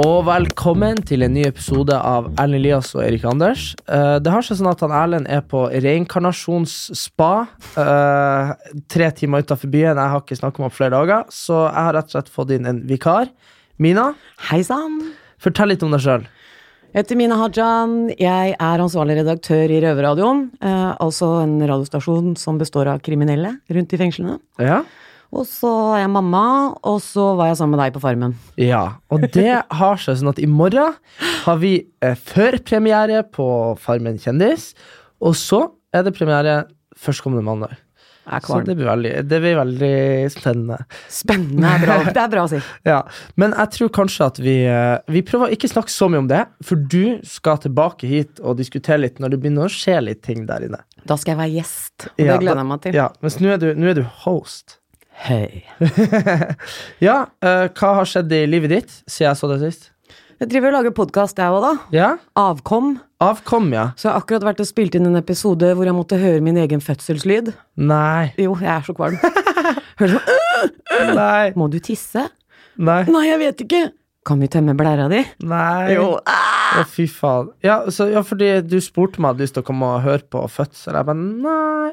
Og velkommen til en ny episode av Erlend Elias og Erik Anders. Eh, det har seg sånn at han Erlend er på reinkarnasjonsspa eh, tre timer utafor byen. Jeg har ikke snakket med ham på flere dager, så jeg har rett og slett fått inn en vikar. Mina, Hei sann! fortell litt om deg sjøl. Jeg heter Mina Hajan. Jeg er ansvarlig redaktør i Røverradioen. Eh, altså en radiostasjon som består av kriminelle rundt i fengslene. Ja? Og så er jeg mamma, og så var jeg sammen med deg på Farmen. ja. Og det har seg sånn at i morgen har vi eh, førpremiere på Farmen kjendis, og så er det premiere førstkommende mandag. Jeg er Så kvalm. det blir veldig, det blir veldig spennende. Spennende er bra. Det er bra å si. Ja, Men jeg tror kanskje at vi eh, Vi prøver å ikke snakke så mye om det, for du skal tilbake hit og diskutere litt når det begynner å skje litt ting der inne. Da skal jeg være gjest, og Ja, det gleder jeg meg til. Ja, Mens nå er du, nå er du host. Hei. Ja, eh, hva har skjedd i livet ditt siden jeg så deg sist? Jeg driver og lager podkast, jeg òg, da. Ja? Avkom. Avkom, ja. Så jeg har akkurat vært og spilt inn en episode hvor jeg måtte høre min egen fødselslyd. Nei. Jo, jeg er så kvalm. Hører sånn «Øh, Nei. Må du tisse? Nei. Nei, jeg vet ikke. Kan vi tømme blæra di? Nei. Å, fy faen. Ja, så, ja, fordi du spurte om jeg hadde lyst til å komme og høre på fødsel. Jeg bare nei.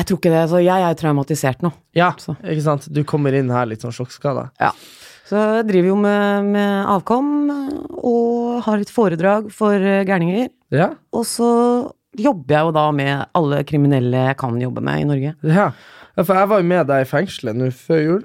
Jeg tror ikke det, så jeg er traumatisert nå. Ja, Så. ikke sant. Du kommer inn her litt sånn sjokkskada. Så jeg driver jo med, med avkom og har et foredrag for eh, gærninger. Ja. Og så jobber jeg jo da med alle kriminelle jeg kan jobbe med i Norge. Ja, ja, for jeg var jo med deg i fengselet nå før jul.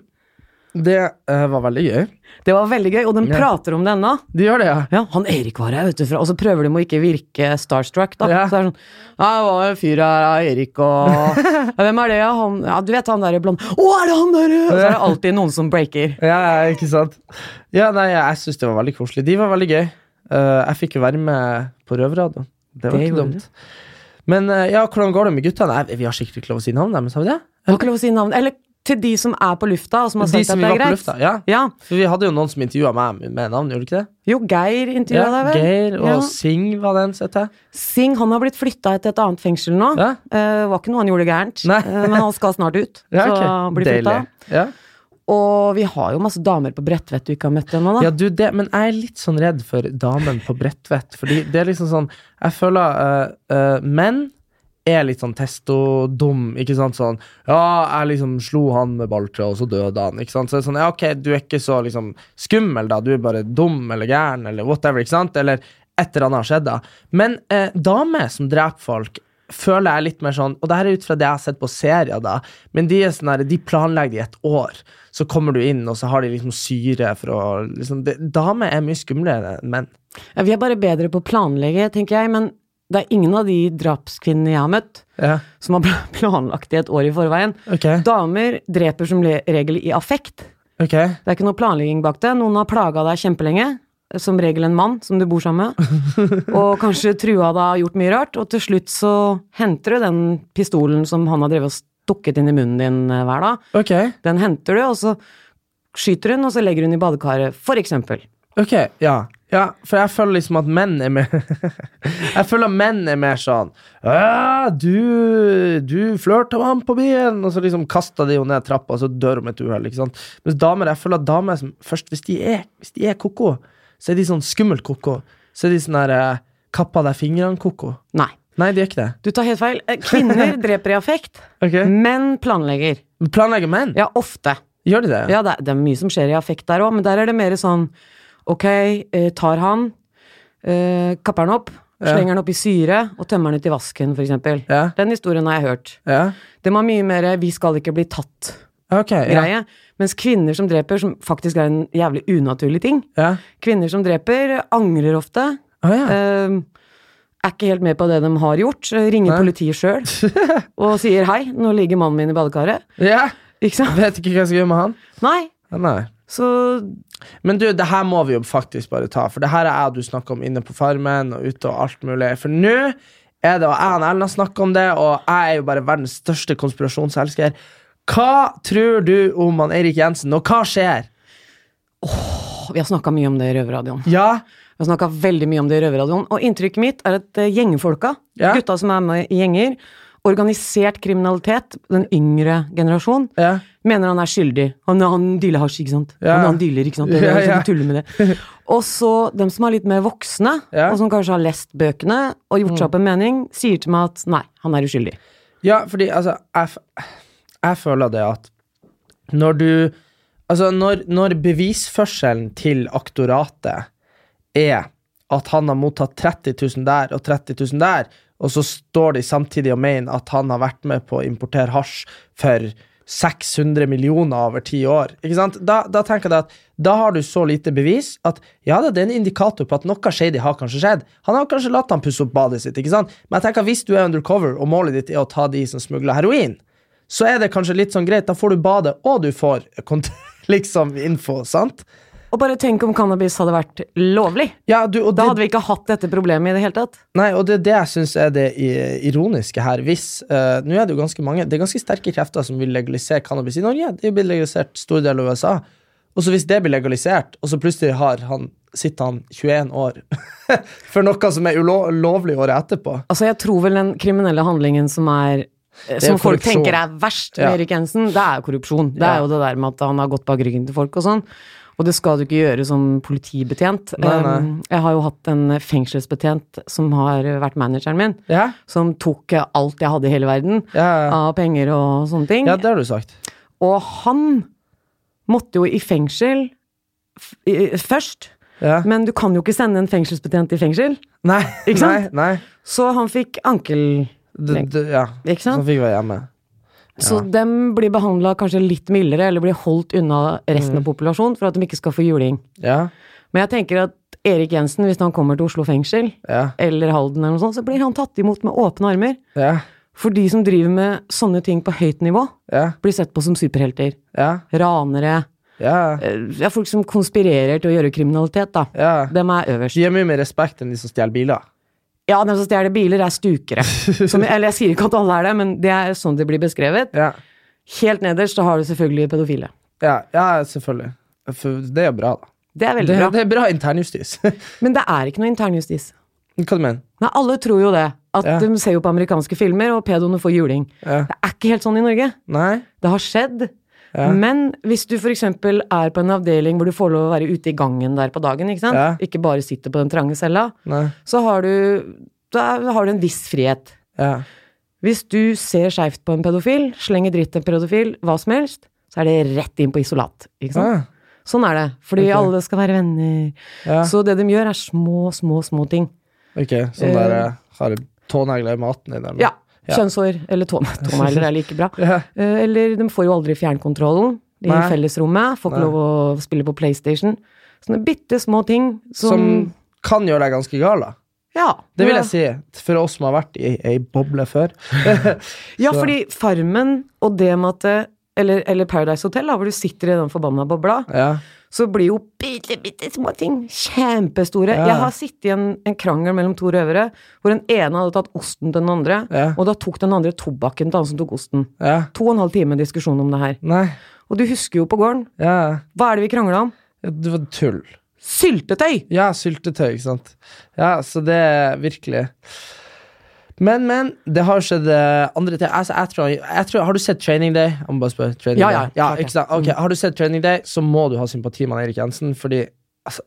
Det eh, var veldig gøy. Det var veldig gøy, og de Ja. prater om det ennå. De gjør det, ja. Ja, han Erik var her, vet du, fra, og så prøver de å ikke virke starstruck, da. Ja. Så det er sånn Ja, det var en fyr her, ja, Erik, og ja, Hvem er det, ja? Han Ja, du vet han derre blonde Å, er det han derre? Og så er det alltid noen som breaker. Ja, ja, ikke sant? Ja, nei, jeg syns det var veldig koselig. De var veldig gøy. Eh, jeg fikk jo være med på Røverradioen. Det var Det ikke gjorde dumt. Men eh, ja, hvordan går det med guttene? Nei, vi har sikkert ikke lov å si navn, men sa vi det? Jeg har ikke lov å si navn. Eller til de som er på lufta, og som har De sagt at som det vi er var på greit. lufta. Ja. Ja. For vi hadde jo noen som intervjua meg med navn, gjorde de ikke det? Jo, Geir intervjua deg, vel? Geir og Ja. Sing var den, sett jeg. Singh han har blitt flytta til et annet fengsel nå. Ja. Eh, var ikke noe han gjorde gærent, Nei. eh, men han skal snart ut. Ja, så ok. han blir Deilig. flytta. Ja. Og vi har jo masse damer på Bredtvet du ikke har møtt ennå, da. Ja, du, det, men jeg er litt sånn redd for damen på Bredtvet. Fordi det er liksom sånn Jeg føler eh, eh, menn er litt sånn testo-dum, ikke sant? Sånn Ja, jeg liksom slo han med balltre, og så døde han, ikke sant? Så det er sånn Ja, ok, du er ikke så liksom skummel, da. Du er bare dum eller gæren eller whatever, ikke sant? Eller et eller annet har skjedd, da. Men eh, damer som dreper folk føler jeg litt mer sånn Og det her er ut fra det jeg har sett på serier, da. Men de, er sånn her, de planlegger i et år. Så kommer du inn, og så har de liksom syre for å liksom, det, Damer er mye skumlere enn menn. Ja, vi er bare bedre på å planlegge, tenker jeg. Men det er ingen av de drapskvinnene jeg har møtt, Ja. som har pla- planlagt det et år i forveien. Ok. Damer dreper som le- regel i affekt. ok. Det er ikke noe planlegging bak det. Noen har plaga deg kjempelenge. Som regel en mann som du bor sammen med. Og kanskje trua deg og gjort mye rart. Og til slutt så henter du den pistolen som han har drevet og stukket inn i munnen din eh, hver dag. Ok. Den henter du, og så skyter hun, og så legger hun i badekaret, for eksempel. Ok, ja. ja. For jeg føler liksom at menn er mer Jeg føler menn er mer sånn «Æ, Du, du flørta med ham på byen, og så liksom kaster de jo ned trappa, og så dør hun med et uhell. ikke sant? Mens damer, jeg føler at damer som først Hvis de er, hvis de er ko-ko, så er de sånn skummelt ko-ko. Så er de sånn der eh, kappa deg fingrene-ko-ko. Nei, Nei, de er ikke det. du tar helt feil. Eh, Kvinner dreper i affekt, Ok. menn planlegger. Planlegger menn? Ja, ofte. Gjør de det? Ja, det er, det er mye som skjer i affekt der òg, men der er det mer sånn Ok, eh, tar han, eh, kapper han opp, Slenger den opp i syre og tømmer den ut i vasken, f.eks. Ja. Den historien har jeg hørt. Ja. Det var mye mer 'vi skal ikke bli tatt'-greie. Ok. Ja. Mens kvinner som dreper, som faktisk er en jævlig unaturlig ting Ja. Kvinner som dreper, angrer ofte. Å, ja. Eh, er ikke helt med på det de har gjort. eh, Ringer Nei. politiet sjøl og sier 'hei, nå ligger mannen min i badekaret'. ja. Ikke sant? Vet ikke hva jeg skal gjøre med han. Nei. Ja, Nei. Så Men du, det her må vi jo faktisk bare ta, for det her er jeg og du snakker om inne på Farmen og ute og alt mulig. For nå er det, og jeg og Ellen har snakket om det, og jeg er jo bare verdens største konspirasjonselsker. Hva tror du om han Eirik Jensen, og hva skjer? vi har snakka mye om det i Røverradioen. Ja, Vi har snakka veldig mye om det i Røverradioen. Og inntrykket mitt er at eh, gjengfolka, Ja. gutta som er med i gjenger, organisert kriminalitet, den yngre generasjon, ja, mener han er skyldig. Han, han dealer hasj, ikke sant? Ja. Han, han dealer, ikke sant? Det, er Ja, det, ja. som tuller med det. Og så dem som er litt mer voksne, Ja. og som kanskje har lest bøkene og gjort seg opp en mening, sier til meg at nei, han er uskyldig. ja fordi altså, jeg, f- jeg føler det at når du Altså, når, når bevisførselen til aktoratet er at han har mottatt 30 000 der og 30 000 der, og så står de samtidig og mener at han har vært med på å importere hasj for 600 millioner over ti år, ikke sant? Da, da tenker jeg at da har du så lite bevis at ja da, det er en indikator på at noe shady har kanskje skjedd. Han har kanskje latt han pusse opp badet sitt, ikke sant? Men jeg tenker at hvis du er undercover, og målet ditt er å ta de som smugler heroin, så er det kanskje litt sånn greit. Da får du badet, og du får kont- liksom info, sant? Og bare tenk om cannabis hadde vært lovlig. Ja, du, og Da det, hadde vi ikke hatt dette problemet i det hele tatt. Nei, og det er det jeg syns er det i- ironiske her. Hvis, eh, nå er Det jo ganske mange, det er ganske sterke krefter som vil legalisere cannabis i Norge. Det blir legalisert i stor del av USA. Og så hvis det blir legalisert, og så plutselig har han, sitter han 21 år for noe som er ulo- lovlig året etterpå. Altså, jeg tror vel den kriminelle handlingen som er eh, er som folk korrupsjon. tenker er verst med Ja. Erik Jensen, det er jo korrupsjon. Det Ja. er jo det der med at han har gått bak ryggen til folk og sånn. Og det skal du ikke gjøre som politibetjent. Nei, nei. Um, Jeg har jo hatt en fengselsbetjent som har vært manageren min, Ja, som tok eh, alt jeg hadde i hele verden ja, ja. av penger og sånne ting. ja det har du sagt. Og han måtte jo i fengsel f i- først, Ja. men du kan jo ikke sende en fengselsbetjent i fengsel. Nei, Ikke sant? Nei, nei. Så han fikk ankel... D d ja. Ikke Så sant? han fikk være hjemme. Så dem blir behandla kanskje litt mildere, eller blir holdt unna resten Mm. av populasjonen for at de ikke skal få juling. Ja, Men jeg tenker at Erik Jensen, hvis han kommer til Oslo fengsel, ja, eller Halden eller noe sånt, så blir han tatt imot med åpne armer. ja, For de som driver med sånne ting på høyt nivå, ja, blir sett på som superhelter. ja, Ranere. ja. eh, Ja, folk som konspirerer til å gjøre kriminalitet, da. ja. Dem er øverst. De har mye mer respekt enn de som stjeler biler. Ja, dem som stjeler biler, er stukere. Som, eller jeg sier ikke at alle er det, men det er sånn det blir beskrevet. Ja, Helt nederst så har du selvfølgelig pedofile. ja, ja selvfølgelig. For det er jo bra, da. Det er veldig Det, bra. det er bra internjustis. Hva Men det er ikke noe internjustis. du mener Nei, alle tror jo det. At Ja. de ser jo på amerikanske filmer, og pedoene får juling. Ja. Det er ikke helt sånn i Norge. Nei? Det har skjedd. Men hvis du f.eks. er på en avdeling hvor du får lov å være ute i gangen der på dagen, ikke sant? Ja. Ikke bare sitte på den trange cella, Nei. så har du, da har du en viss frihet. Ja. Hvis du ser skeivt på en pedofil, slenger dritt til en pedofil, hva som helst, så er det rett inn på isolat. Ikke sant? Ah, Sånn er det. Fordi Ok. alle skal være venner. Ja. Så det de gjør, er små, små, små ting. ok, sånn der eh, har tånegler i maten i dem. Ja. Ja. Kjønnshår eller tåne- tånegler er like bra. Ja. Eh, Eller de får jo aldri fjernkontrollen i Nei. fellesrommet. Får ikke Nei. lov å spille på PlayStation. Sånne bitte små ting som, Som kan gjøre deg ganske gal, da. Ja. Det vil jeg si, for oss som har vært i ei boble før. Ja, Så- fordi Farmen og det med at det- eller, eller Paradise Hotel, da, hvor du sitter i den forbanna bobla, Ja. så blir jo bitte, bitte små ting kjempestore. Ja. Jeg har sittet i en, en krangel mellom to røvere, hvor den ene hadde tatt osten til den andre, Ja. og da tok den andre tobakken til han som tok osten. ja. To og en halv time diskusjon om det her. Nei. Og du husker jo på gården, Ja. hva er det vi krangla om? Det var tull. Syltetøy! Ja, syltetøy, ikke sant. Ja, så det er virkelig Men, men, det har skjedd eh, andre ting. Altså, jeg tror, jeg tror, har du sett Training Day? Jeg må bare spørre. Training Ja, ja, Day. ja klart det. ikke sant? Ok, Har du sett Training Day, så må du ha sympati med han Erik Jensen, fordi altså,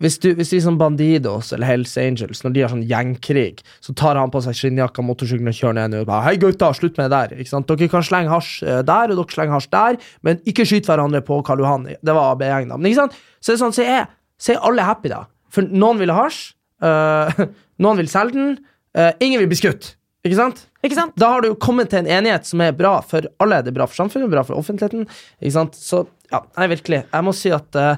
hvis, du, hvis de som Bandidos eller Hells Angels Når de har sånn gjengkrig, så tar han på seg skinnjakka, motorsykkelen og kjører ned og bare Hei, gutta, slutt med det der. Ikke sant? Dere kan slenge hasj eh, der, og dere slenger hasj der, men ikke skyt hverandre på Karl Johan. Det var AB-gjengen, da. Men ikke sant? Så det er sånn, så er, så er alle happy, da. For noen vil ha hasj, eh, noen vil selge den, eh, ingen vil bli skutt. Ikke sant? Ikke sant? Da har du jo kommet til en enighet som er bra for alle. Det er bra for samfunnet, bra for offentligheten. Ikke sant? Så ja, nei, virkelig. Jeg må si at eh,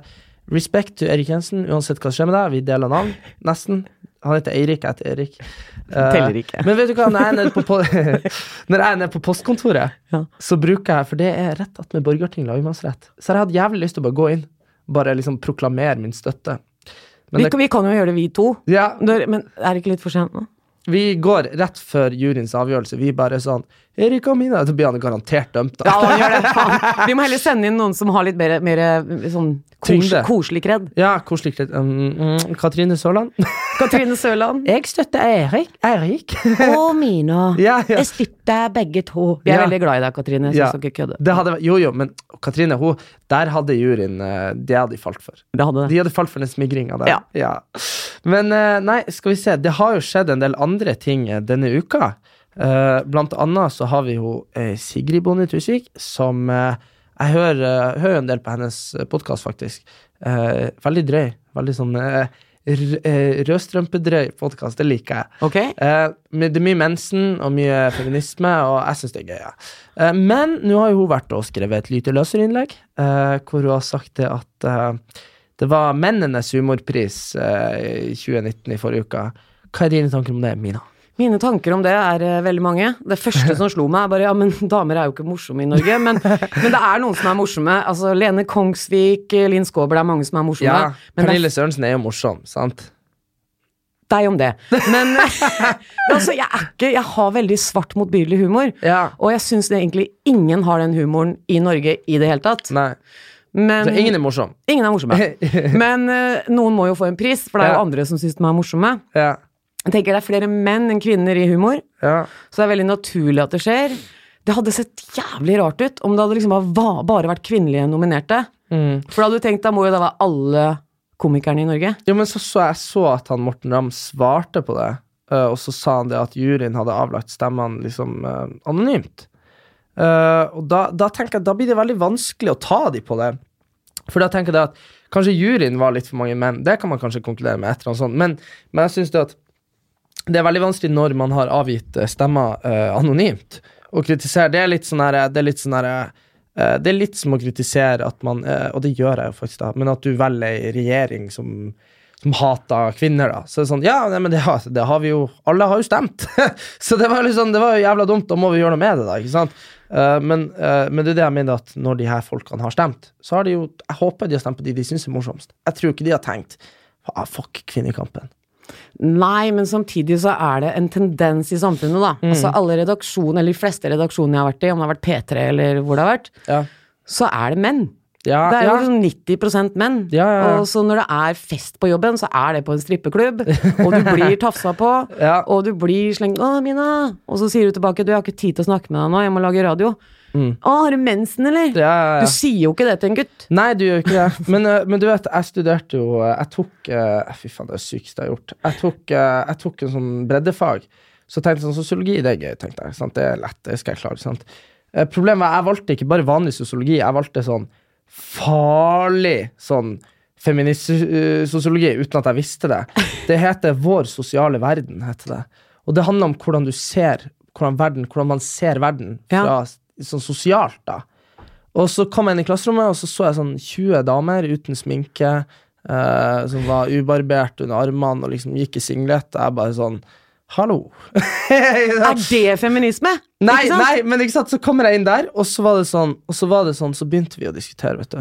respekt til Erik Jensen, uansett hva som skjer med deg. Vi deler navn, nesten. Han heter Eirik, jeg heter Erik. Eh, Teller ikke. Men vet du hva, når jeg er nede på, po når jeg er nede på postkontoret, Ja. så bruker jeg For det er rett attmed Borgarting lagmannsrett. Så jeg hadde jævlig lyst til å bare gå inn. Bare liksom proklamere min støtte. Men Vi, det, vi kan jo gjøre det, vi to. ja, Når- Men er det ikke litt for sent nå? vi går rett før juryens avgjørelse. Vi bare sånn Erik og Mina. Så blir han garantert dømt, da. Ja, vi gjør det. Faen. Vi må heller sende inn noen som har litt mer, mer sånn kos, Tyngde. koselig kred. Ja, koselig. Um, mm, Katrine Sørland. Katrine Sørland. Jeg støtter Erik. Eirik. Å, Mina. Ja, ja. Jeg støtter begge to. Vi er Ja. veldig glad i deg, Katrine. Jeg Ja. synes dere kødder. Det hadde, vært- jo, jo, men Katrine, hun, der hadde juryen eh, Det hadde de falt for. Det hadde De hadde falt for den smigringa der. Ja. Men eh, nei, skal vi se. Det har jo skjedd en del andre ting eh, denne uka. Eh, Blant annet så har vi jo eh, Sigrid Bonde Tusvik, som eh, jeg hører, eh, hører en del på hennes podkast, faktisk. Eh, Veldig drøy. Veldig sånn eh, r- eh, rødstrømpedrøy podkast. Det liker jeg. Ok? Eh, men det er mye mensen og mye feminisme, og jeg syns det er gøy. Ja. Eh, men nå har jo hun vært og skrevet et lite løserinnlegg eh, hvor hun har sagt det at eh, det var mennenes humorpris eh, i 2019 i forrige uke. Hva er dine tanker om det, Mina? Mine tanker om det er eh, veldig mange. Det første som slo meg, er bare ja, men damer er jo ikke morsomme i Norge. Men, men det er noen som er morsomme. Altså Lene Kongsvik, eh, Linn Skåber, det er mange som er morsomme. Ja, men det Pernille Sørensen er jo morsom, sant? er deg om det. Men men altså, jeg er ikke Jeg har veldig svart motbydelig humor. Ja. Og jeg syns egentlig ingen har den humoren i Norge i det hele tatt. Nei, Men så ingen er morsom. ingen er morsomme. Men eh, noen må jo få en pris, for det er Ja. jo andre som syns de er morsomme. Ja, Jeg tenker det er flere menn enn kvinner i humor. ja. Så det er veldig naturlig at det skjer. Det hadde sett jævlig rart ut om det hadde liksom bare va- bare vært kvinnelige nominerte. Mm. For da hadde du tenkt, da må jo da være alle komikerne i Norge. Jo, men så så jeg så at han Morten Ramm svarte på det, eh, og så sa han det at juryen hadde avlagt stemmene liksom eh, anonymt. Eh, og da, da tenker jeg da blir det veldig vanskelig å ta de på det. For da tenker jeg det at kanskje juryen var litt for mange menn. Det kan man kanskje konkludere med. et eller annet sånt. Men, men jeg synes det at det er veldig vanskelig når man har avgitt eh, stemmer eh, anonymt, å kritisere. Det er litt sånn her, det er litt sånn her eh, det er litt som å kritisere at man, eh, og det gjør jeg jo faktisk, da, men at du velger ei regjering som, som hater kvinner, da. Så det er sånn, ja, nei, men det har, det har vi jo Alle har jo stemt! så det var, liksom, det var jo jævla dumt, da må vi gjøre noe med det, da. ikke sant? Eh, men, eh, men det er det jeg mener, at når de her folkene har stemt, så har de jo Jeg håper de har stemt på de de syns er morsomst. Jeg tror ikke de har tenkt ah, fuck kvinnekampen. Nei, men samtidig så er det en tendens i samfunnet, da. Mm. Altså alle redaksjoner, eller de fleste redaksjoner jeg har vært i, om det har vært P3 eller hvor det har vært, Ja. så er det menn. Ja, Det er jo ja. sånn 90 menn. Ja, ja, ja. Og så når det er fest på jobben, så er det på en strippeklubb, og du blir tafsa på, Ja. og du blir slengt 'Å, Mina!' Og så sier du tilbake 'Du, jeg har ikke tid til å snakke med deg nå, jeg må lage radio'. 'Å, har du mensen, eller?' Mm. Ja, ja, ja. Du sier jo ikke det til en gutt. Nei, du gjør ikke det. Men, eh, men du vet, jeg studerte jo eh, Jeg tok eh, Fy faen, det er det sykeste jeg har gjort. Jeg tok, eh, jeg tok en sånn breddefag. Så tenkte jeg sånn, sosiologi det er gøy. tenkte jeg, sant? Det er lett, det skal jeg klare. sant? Eh, Problemet var jeg valgte ikke bare vanlig sosiologi. Jeg valgte sånn farlig sånn feminist-sosiologi uten at jeg visste det. Det heter Vår sosiale verden. heter det. Og det handler om hvordan du ser hvordan verden, hvordan man ser verden fra, Ja. sånn sosialt. da. Og så kom jeg inn i klasserommet, og så så jeg sånn 20 damer uten sminke, eh, som var ubarbert under armene og liksom gikk i singlet. Og jeg bare sånn Hallo! Er det feminisme? Nei, Ikke sant? nei, men ikke sant, så kommer jeg inn der, og så var det sånn, og så, var det sånn, så begynte vi å diskutere, vet du.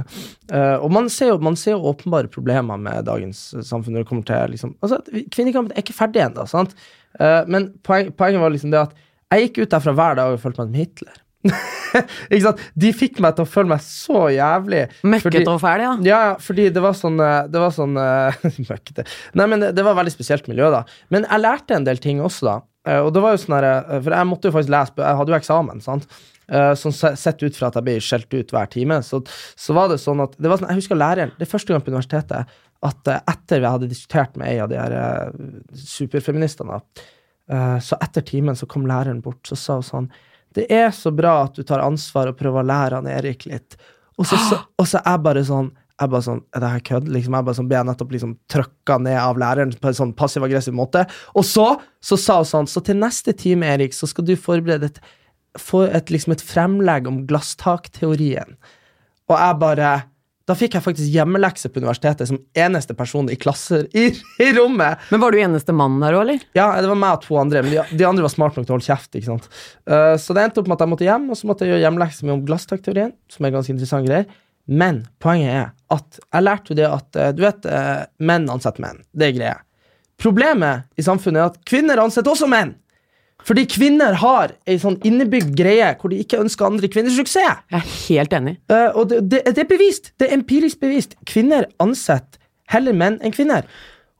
Eh, og man ser, jo, man ser jo åpenbare problemer med dagens eh, samfunn når det kommer til liksom, altså, at vi- Kvinnekampen er ikke ferdig ennå, sant? Eh, men poen, poenget var liksom det at jeg gikk ut derfra hver dag og følte meg som Hitler. ikke sant? De fikk meg til å føle meg så jævlig. fordi- Møkkete og fæl, ja. ja, ja, fordi det var sånn eh, Det var sånn eh, Møkkete. Nei, men det, det var veldig spesielt miljø, da. Men jeg lærte en del ting også, da. Eh, Og det var jo sånn her, eh, For jeg måtte jo faktisk lese Jeg hadde jo eksamen, sant. Eh, Sånn se- sett ut fra at jeg ble skjelt ut hver time, så, så var det sånn at det var sånn, Jeg husker læreren Det er første gang på universitetet at eh, etter vi hadde diskutert med ei av de her eh, superfeministene, da, Eh, Så etter timen så kom læreren bort så sa hun sånn Det er så bra at du tar ansvar og prøver å lære han Erik litt. Og så, så, og så er jeg bare sånn jeg bare sånn, er det her kødd? Liksom, jeg bare sånn, ble jeg nettopp liksom trøkka ned av læreren på en sånn passiv-aggressiv måte. Og så, så sa hun sånn, så til neste time, Erik, så skal du forberede et, få et, liksom et fremlegg om glasstakteorien. Og jeg bare Da fikk jeg faktisk hjemmelekse på universitetet som eneste person i klasser i, i rommet. Men var du eneste mann der òg, eller? Ja, det var meg og to andre, men de, de andre var smart nok til å holde kjeft. ikke sant? Eh, så det endte opp med at jeg måtte hjem, og så måtte jeg gjøre hjemlekse om glasstakteorien, som er ganske interessant greier. Men poenget er at jeg lærte jo det at eh, du vet, eh, menn ansetter menn. Det er greia. Problemet i samfunnet er at kvinner ansetter også menn. Fordi kvinner har ei sånn innebygd greie hvor de ikke ønsker andre kvinners suksess. Jeg er helt enig. Eh, og det, det, det er bevist. Det er empirisk bevist. Kvinner ansetter heller menn enn kvinner.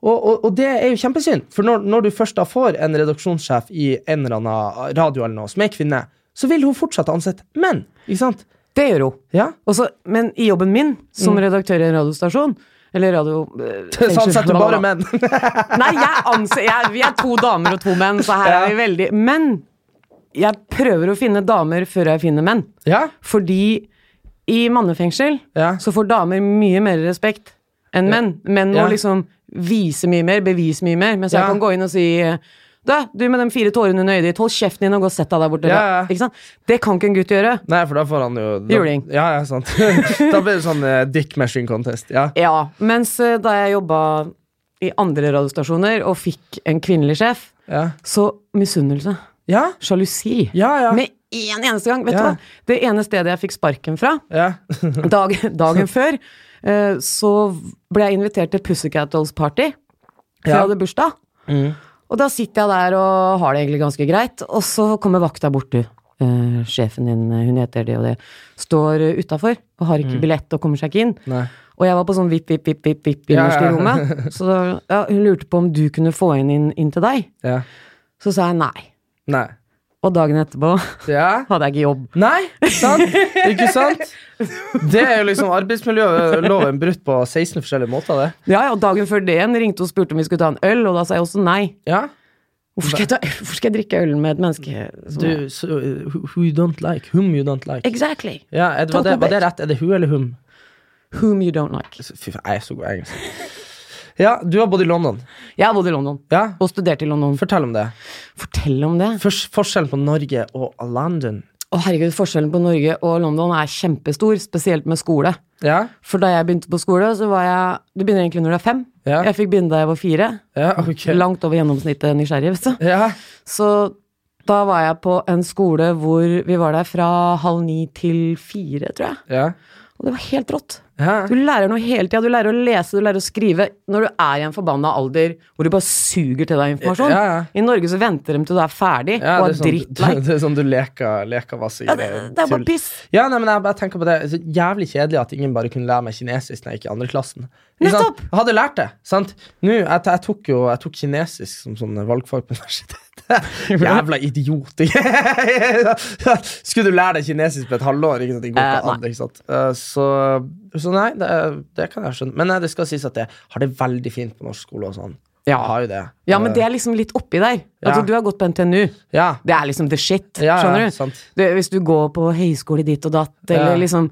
Og, og, og det er jo kjempesynd, for når, når du først da får en redaksjonssjef i en eller annen radio eller noe som er kvinne, så vil hun fortsatt ansette menn. Ikke sant? Det gjør hun. Ja? Og så- men i jobben min, som Mm. redaktør i en radiostasjon Eller radio... eh, Så ansetter du bare blablabla. menn. Nei, jeg anser, jeg, vi er to damer og to menn, så her er vi veldig Men jeg prøver å finne damer før jeg finner menn. ja? Fordi i mannefengsel Ja. så får damer mye mer respekt enn menn. Menn må Ja. liksom vise mye mer, bevise mye mer. Mens Ja. jeg kan gå inn og si du, du med de fire tårene under øyet ditt, hold kjeften din og gå og sett deg der borte. Ja, ja. Ikke sant? Det kan ikke en gutt gjøre. Nei, for da får han jo da, Juling. Ja, ja, sant. da blir det sånn eh, dick meshing contest. Ja. Ja, mens eh, da jeg jobba i andre radiostasjoner og fikk en kvinnelig sjef, Ja? så misunnelse. Ja? Sjalusi. Ja, ja. Med én eneste gang. Vet Ja. du hva? Det ene stedet jeg fikk sparken fra, ja. dag, dagen før, eh, så ble jeg invitert til Pussycat Dolls Party. For Ja. Mm. jeg hadde bursdag. Og da sitter jeg der og har det egentlig ganske greit, og så kommer vakta bort, du. Eh, sjefen din, eh, hun heter det og det, står uh, utafor og har Mm. ikke billett og kommer seg ikke inn. Nei. Og jeg var på sånn vipp, vipp, vipp, vipp, vipp Ja, innerst i ja. rommet. Så da, ja, hun lurte på om du kunne få inn inn, inn til deg. ja. Så sa jeg nei. Nei. Og dagen etterpå Ja. hadde jeg ikke jobb. Nei, sant? ikke sant? Det er jo liksom arbeidsmiljøloven brutt på 16 forskjellige måter, det. Ja, ja, og dagen før det igjen ringte og spurte om vi skulle ta en øl, og da sa jeg også nei. Ja. Hvorfor skal jeg, ta, hvorfor skal jeg drikke øl med et menneske? som jeg- Du, so, uh, who- who you don't like, whom you don't like. Exactly. Ja, er det, var, det, var det rett? Er det hun eller hum? Whom you don't like. Fy faen, jeg er så god i engelsk. Ja, du har bodd i London. Jeg har bodd i London, Ja, og studert i London. Fortell om det. Fortell om det. Først, forskjellen på Norge og London. Å herregud, forskjellen på Norge og London er kjempestor, spesielt med skole. Ja, For da jeg begynte på skole, så var jeg Du begynner egentlig når du er fem. Ja. Jeg fikk begynne da jeg var fire. ja, ok. Langt over gjennomsnittet nysgjerrig, vet du. Ja, Så da var jeg på en skole hvor vi var der fra halv ni til fire, tror jeg. ja, Og det var helt rått. ja. Du lærer noe hele tida. Du lærer å lese, du lærer å skrive. Når du er i en forbanna alder hvor du bare suger til deg informasjon. Ja, ja. I Norge så venter de til du er ferdig Ja, og er det, er sånn, drittlei. det er sånn du leker, leker masse Ja, det, det er tull. bare piss. Ja, nei, men jeg bare tenker på det Så Jævlig kjedelig at ingen bare kunne lære meg kinesisk når jeg gikk i andre klassen. Ikke sant? Nettopp! Jeg hadde lært det. sant? Nå, jeg, jeg tok jo jeg tok kinesisk som sånn valgfag på universitetet. Jævla idiot! ikke? Skulle du lære deg kinesisk på et halvår? ikke sant? Det går Eh, ikke nei. an, ikke sant? Eh, Så, så nei, det, det kan jeg skjønne. Men eh, det skal sies at jeg har det veldig fint på norsk skole og sånn. Ja. Jeg har jo det. Ja, men det er liksom litt oppi der. Ja. Altså, du har gått på NTNU. Ja, Det er liksom the shit. ja, skjønner ja, du? sant. Det, hvis du går på høyskole ditt og datt, eller Ja. liksom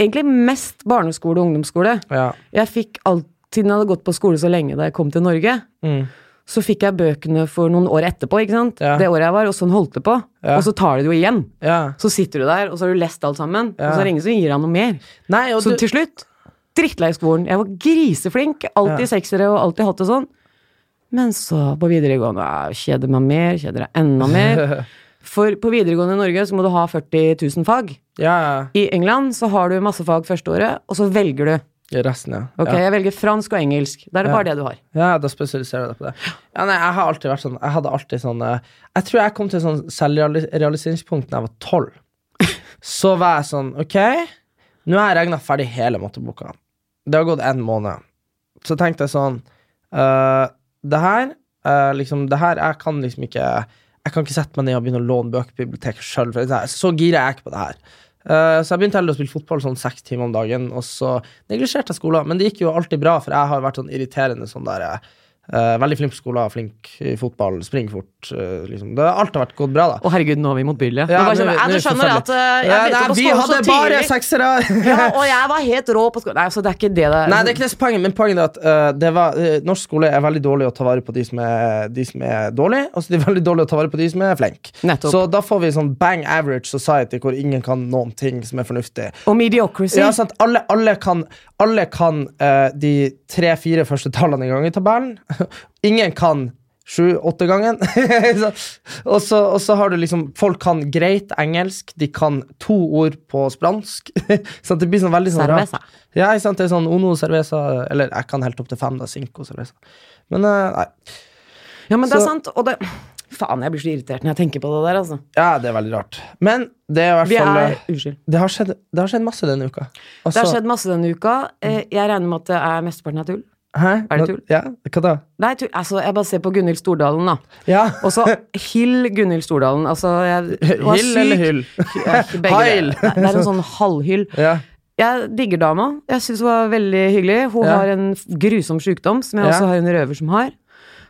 Egentlig mest barneskole og ungdomsskole. Ja. Jeg fikk alt, Siden jeg hadde gått på skole så lenge da jeg kom til Norge, Mm. så fikk jeg bøkene for noen år etterpå, ikke sant? Ja. Det året jeg var, og sånn holdt det på. Ja. Og så tar det det jo igjen. ja. Så sitter du der, og så har du lest alt sammen, Ja. og så er det ingen som gir deg noe mer. Nei, og Så du- til slutt, drittlei skolen. Jeg var griseflink, alltid Ja. seksere og alltid hatt det sånn. Men så på videregående jeg kjeder meg mer, kjeder deg enda mer. For på videregående i Norge så må du ha 40 000 fag. ja, I England så har du masse fag første året, og så velger du. ja. Resten, ja. Ok, ja. jeg velger fransk og engelsk. Da er det Ja. bare det du har. Ja, da spesialiserer du deg på det. Ja, nei, jeg har alltid vært sånn Jeg hadde alltid sånn eh, Jeg tror jeg kom til et sånn selvrealiseringspunkt da jeg var tolv. Så var jeg sånn Ok, nå har jeg regna ferdig hele matteboka. Det har gått en måned. Så tenkte jeg sånn eh, Det her eh, liksom, Det her Jeg kan liksom ikke Jeg kan ikke sette meg ned og begynne å låne bøker på biblioteket sjøl. Så gira jeg er ikke på det her. Eh, så jeg begynte heller å spille fotball sånn seks timer om dagen, og så neglisjerte jeg skolen. Men det gikk jo alltid bra, for jeg har vært sånn irriterende sånn der eh, Eh, veldig flink på skolen, flink i fotball, springer fort. eh, liksom. det, alt har vært gått bra, da. Å, herregud, nå er vi motbydelige. Ja, det var nå- sånn, nå ja, du skjønner er det at forferdelig. eh, jeg Ja, begynte nei, på vi skolen så hadde bare tidlig. seksere! ja, og jeg var helt rå på skolen. Nei, så det er ikke det det Nei, det er ikke det som er poenget, men poenget er at eh, det var, eh, norsk skole er veldig dårlig å ta vare på de som er, de som er dårlige, og så de er veldig dårlige å ta vare på de som er flinke. Nettopp. Så da får vi sånn bang average society hvor ingen kan noen ting som er fornuftig. Og mediocrity. Ja, sant? Alle, alle kan, alle kan eh, de tre-fire første tallene en gang i tabellen. Ingen kan sju-åtte gangen. Så- og, så, og så har du liksom Folk kan greit engelsk, de kan to ord på spransk. så det blir sånn veldig sånn rart. Cerveza. Ja, ikke sant? Det er sånn Ono cerveza Eller jeg kan helt opp til fem, da. Cinco cerveza. Men eh, nei. Ja, men det Så- er sant. Og det Faen, jeg blir så irritert når jeg tenker på det der, altså. Ja, det er veldig rart. Men det er i hvert Vi fall er eh, Unnskyld. det, har skjedd, det har skjedd masse denne uka. Det har Altså- skjedd masse denne uka. Eh, Jeg regner med at det er mesteparten er tull. Hæ? Er det tull? Ja, hva da? Nei, tull. Altså, jeg bare ser på Gunhild Stordalen, da. Ja. Og så Hill Gunhild Stordalen. Altså, jeg hun er Hill eller syk. hyll? Ja, ikke begge Heil. deler. Det er en sånn halvhyll. Ja. Jeg digger dama. Jeg syns hun var veldig hyggelig. Hun Ja. har en f- grusom sykdom, som jeg Ja. også har en røver som har.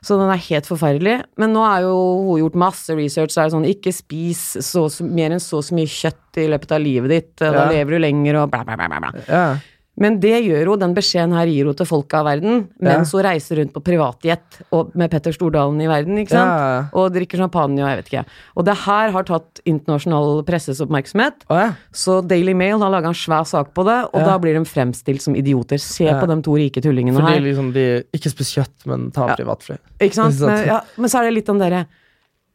Så den er helt forferdelig. Men nå er jo hun gjort masse research. Så er det sånn, ikke spis så, så, mer enn så og så mye kjøtt i løpet av livet ditt. Da Ja. lever du lenger, og bla, bla, bla. bla, bla. Ja. Men det gjør hun, den beskjeden her gir hun til folka av verden, mens hun reiser rundt på privatjet og- med Petter Stordalen i verden, ikke sant? Ja. Og drikker champagne og jeg vet ikke. Og det her har tatt internasjonal presses oppmerksomhet. Å, ja. Så Daily Mail har laga en svær sak på det, og da blir de fremstilt som idioter. Se Ja. på de to rike tullingene Fordi her. liksom de ikke spiser kjøtt, men tar privatfly. Ikke sant? Ikke sant? Men, ja, men så er det litt den derre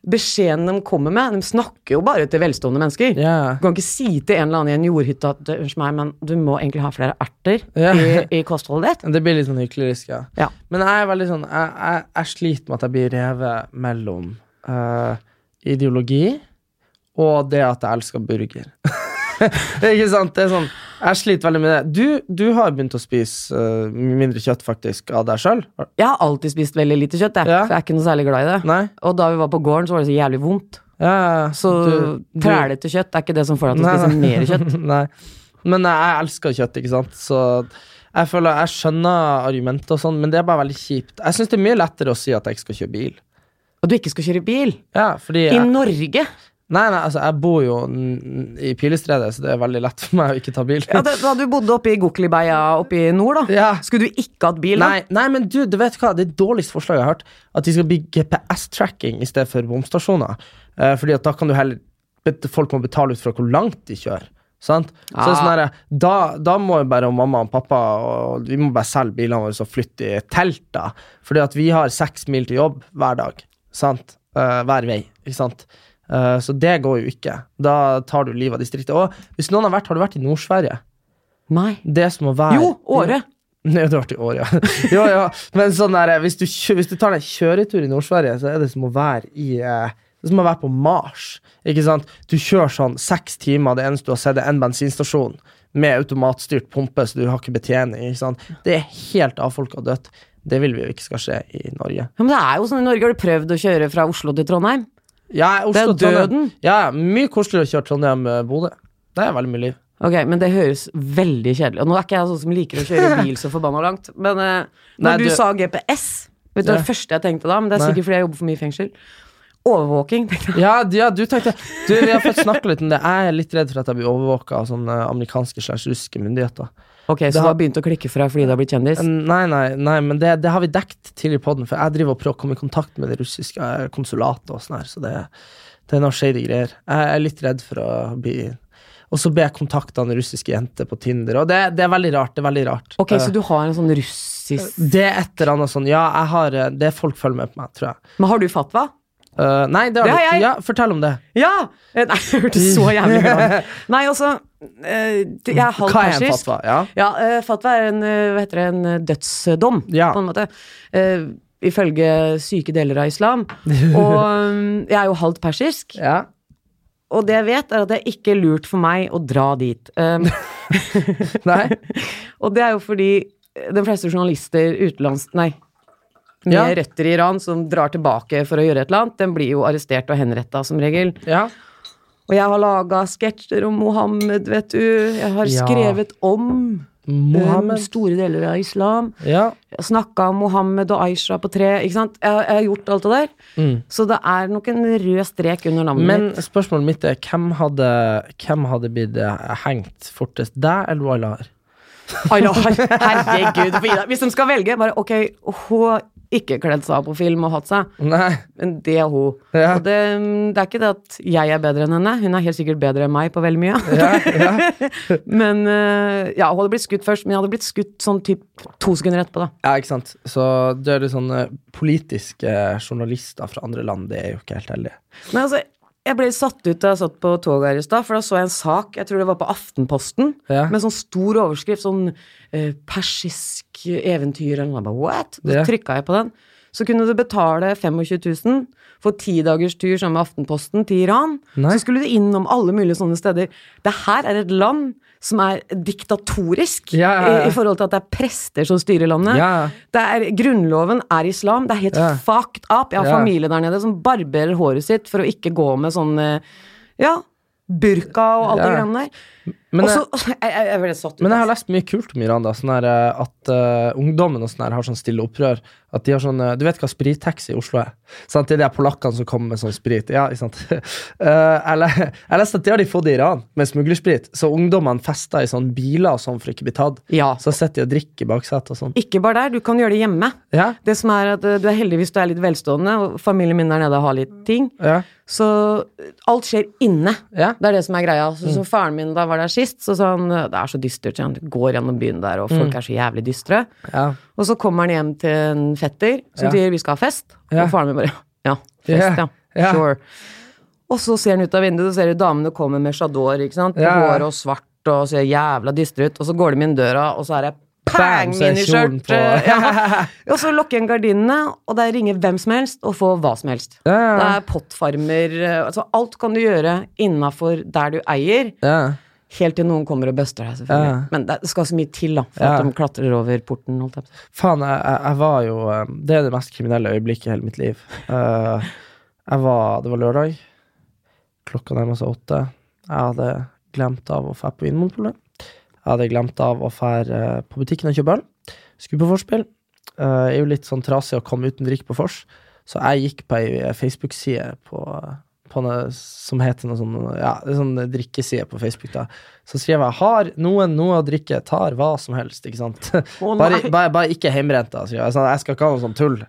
beskjeden de kommer med. De snakker jo bare til velstående mennesker. Ja. Du kan ikke si til en eller annen i en jordhytte at «Du, unnskyld meg, men du må egentlig ha flere erter Ja. i, i kostholdet ditt. Det blir litt sånn hyklerisk, ja. Ja. Men jeg er veldig sånn Jeg, jeg, jeg sliter med at jeg blir revet mellom eh, ideologi og det at jeg elsker burger. ikke sant? Det er sånn Jeg sliter veldig med det. Du, du har begynt å spise eh, mindre kjøtt, faktisk, av deg sjøl. Jeg har alltid spist veldig lite kjøtt, jeg, Ja. for jeg er ikke noe særlig glad i det. Nei? Og da vi var på gården, så var det så jævlig vondt. Ja, Så trælete kjøtt er ikke det som får deg til å spise mer kjøtt. Nei. Men jeg elsker kjøtt, ikke sant? Så jeg føler jeg skjønner argumentet og sånn, men det er bare veldig kjipt. Jeg syns det er mye lettere å si at jeg ikke skal kjøre bil. Og du ikke skal kjøre bil! Ja, fordi I jeg, Norge! Nei, nei, altså, jeg bor jo n- i Pilestredet, så det er veldig lett for meg å ikke ta bil. Ja, det, da du bodde oppe i Goklibeia oppe i nord, da. Ja. Skulle du ikke hatt bil, da? Nei, nei, men du, du vet hva, det dårligste forslaget jeg har hørt, at de skal bli GPS-tracking i stedet for bomstasjoner. Eh, fordi at da kan du heller bet- Folk må betale ut fra hvor langt de kjører. Sant? Så det er sånn Ah. der, da, da må jo bare mamma og pappa og Vi må bare selge bilene våre og flytte i telt, da. Fordi at vi har seks mil til jobb hver dag. Sant? Eh, hver vei. Ikke sant? Eh, så det går jo ikke. Da tar du livet av distriktet. Og hvis noen har vært, har du vært i Nord-Sverige? Nei. Det som å være Jo, Åre! Nei, det har vært i år, ja. Jo, ja. Men sånn der, hvis, du, kjø- hvis du tar deg en kjøretur i Nord-Sverige, så er det som å være i eh, det er som å være på Mars. Ikke sant? Du kjører sånn seks timer, det eneste du har sett, er en bensinstasjon med automatstyrt pumpe, så du har ikke betjening. Ikke sant? Det er helt avfolka og dødt. Det vil vi jo ikke skal skje i Norge. Ja, men det er jo sånn i Norge. Har du prøvd å kjøre fra Oslo til Trondheim? Det Ja, er Oslo, Trondheim- døden. Ja, ja, mye koseligere å kjøre Trondheim-Bodø. Det er veldig mye liv. Ok, men det høres veldig kjedelig Og nå er ikke jeg sånn som liker å kjøre bil så forbanna langt, men eh, Nei, når du, du- sa GPS Vet du hva Ja. det første jeg tenkte da? Men det er Nei. sikkert fordi jeg jobber for mye i fengsel. Overvåking, tenkte jeg. Ja, du- ja, du tenkte Du, vi har fått snakke litt om det. Jeg er litt redd for at jeg blir overvåka av sånne amerikanske slash russiske myndigheter. Ok, så Det du har- har begynt å klikke fra fordi du har blitt kjendis? Nei, nei, nei men det, det har vi dekt tidligere i podden, for jeg driver og prøver å komme i kontakt med det russiske eh, konsulatet og sånn her, så det, det er noe shady greier. Jeg er litt redd for å bli Og så ble jeg kontakta av en russisk jente på Tinder, og det, det er veldig rart. Det er veldig rart. Ok, Eh, så du har en sånn russisk det er et eller annet sånn Ja, jeg har eh, Det er folk følger med på meg, tror jeg. Men har du fatwa? Eh, nei, det har Det du har ikke. jeg. Ja, fortell om det. Ja! Eh, Nei, jeg hørte så jævlig glad ut. Nei, altså eh, det- Jeg er halvt Hva er en persisk. fatwa? Ja. Ja, eh, fatwa er en, eh, hva heter det, en eh, dødsdom, Ja. på en måte. Eh, ifølge syke deler av islam. Og mm, jeg er jo halvt persisk, ja. og det jeg vet, er at det er ikke lurt for meg å dra dit. Um, Nei. og det er jo fordi eh, de fleste journalister utenlands Nei. Med Ja. røtter i Iran som drar tilbake for å gjøre et eller annet, den blir jo arrestert og henretta som regel. Ja. Og jeg har laga sketsjer om Mohammed, vet du. Jeg har Ja. skrevet om Mohammed. eh, store deler av islam. Ja. Snakka om Mohammed og Aisha på tre. Ikke sant? Jeg, jeg har gjort alt det der. Så det er nok en rød strek under navnet Mm. Men mitt. spørsmålet mitt er hvem hadde, hvem hadde blitt eh, hengt fortest? Deg eller Wailahar? Allah, herregud. for Ida. Hvis de skal velge, bare ok, hun ikke kledd seg av på film og hatt seg, Nei. men det er hun. Ja. Og det, mm, det er ikke det at jeg er bedre enn henne, hun er helt sikkert bedre enn meg på veldig mye. men eh, ja, hun hadde blitt skutt først, men jeg hadde blitt skutt sånn typ to sekunder etterpå, da. Ja, ikke sant? Så det er litt sånn eh, politiske journalister fra andre land, det er jo ikke helt heldig. Men altså, jeg ble satt ut da jeg satt på toget her i stad, for da så jeg en sak, jeg tror det var på Aftenposten, Ja. med sånn stor overskrift, sånn eh, persisk eventyr eller noe. Jeg bare, What? Så Ja. trykka jeg på den. Så kunne du betale 25 000 for ti dagers tur sammen med Aftenposten til Iran. Nei. Så skulle du innom alle mulige sånne steder. Det her er et land som er diktatorisk Ja, ja, ja. I, i forhold til at det er prester som styrer landet. Ja. Det er, grunnloven er islam. Det er helt Ja. fucked up. Jeg har Ja. familie der nede som barberer håret sitt for å ikke gå med sånn eh, Ja, burka og alt det Ja. granne der. Men, og eh, så jeg, jeg, jeg ble satt ut. Men jeg har altså. lest mye kult om Iran. da sånn her, eh, At eh, ungdommen og sånn her har sånn stille opprør. At de har sånn, eh, Du vet hva sprittaxi i Oslo er? Sant? Det er de her polakkene som kommer med sånn sprit. Ja, ikke sant? Eh, jeg, le jeg leste at det har de fått i Iran, med smuglersprit. Så ungdommene fester i sånn biler og sånn for ikke å bli tatt. Ja. Så sitter de og drikker i baksetet og sånn. Ikke bare der, du kan gjøre det hjemme. Ja, Det som er at eh, Du er heldig hvis du er litt velstående, og familien min der nede har litt ting. ja, Så eh, alt skjer inne. ja. Mm. Det er det som er greia. Så, så faren min da var der sist, så sa han eh, det er så dystert. sier Han Du går gjennom byen der, og Mm. folk er så jævlig dystre. ja. Og så kommer han hjem til en fetter som Ja. sier vi skal ha fest. Ja. Og faren min bare ja, fest, ja. Ja. Sure. Og så ser han ut av vinduet, så ser du damene komme med chador, ikke sant. Ja. Hår og svart og ser jævla dystre ut. Og så går de inn døra, og så er det Bam, pang, så er kjolen miniskjørt. på. Ja. Og så lukker han gardinene, og der ringer hvem som helst og får hva som helst. Ja, ja, Det ja. er pottfarmer eh, altså Alt kan du gjøre innafor der du eier, ja. helt til noen kommer og buster deg, selvfølgelig. Ja. Men det skal så mye til da, for Ja. at de klatrer over porten. Holdt jeg på. å si. Faen, jeg, jeg, jeg var jo eh, Det er det mest kriminelle øyeblikket i hele mitt liv. Eh, jeg var, det var lørdag. Klokka nærma seg åtte. Jeg hadde glemt av å dra på Vinmonopolet. Jeg hadde glemt av å dra eh, på butikken og kjøpe øl. Skulle på vorspiel. Eh, jeg er jo litt sånn trasig å komme uten drikke på vors, så jeg gikk på ei eh, Facebook-side på, på noe som heter noe sånn Ja, det er sånn drikkeside på Facebook, da. Så skrev jeg 'Har noen noe å drikke? Tar hva som helst', ikke sant? Å, bare, nei. bare, bare ikke hjemmebrenta, sier jeg. Sånn, jeg skal ikke ha noe sånn tull.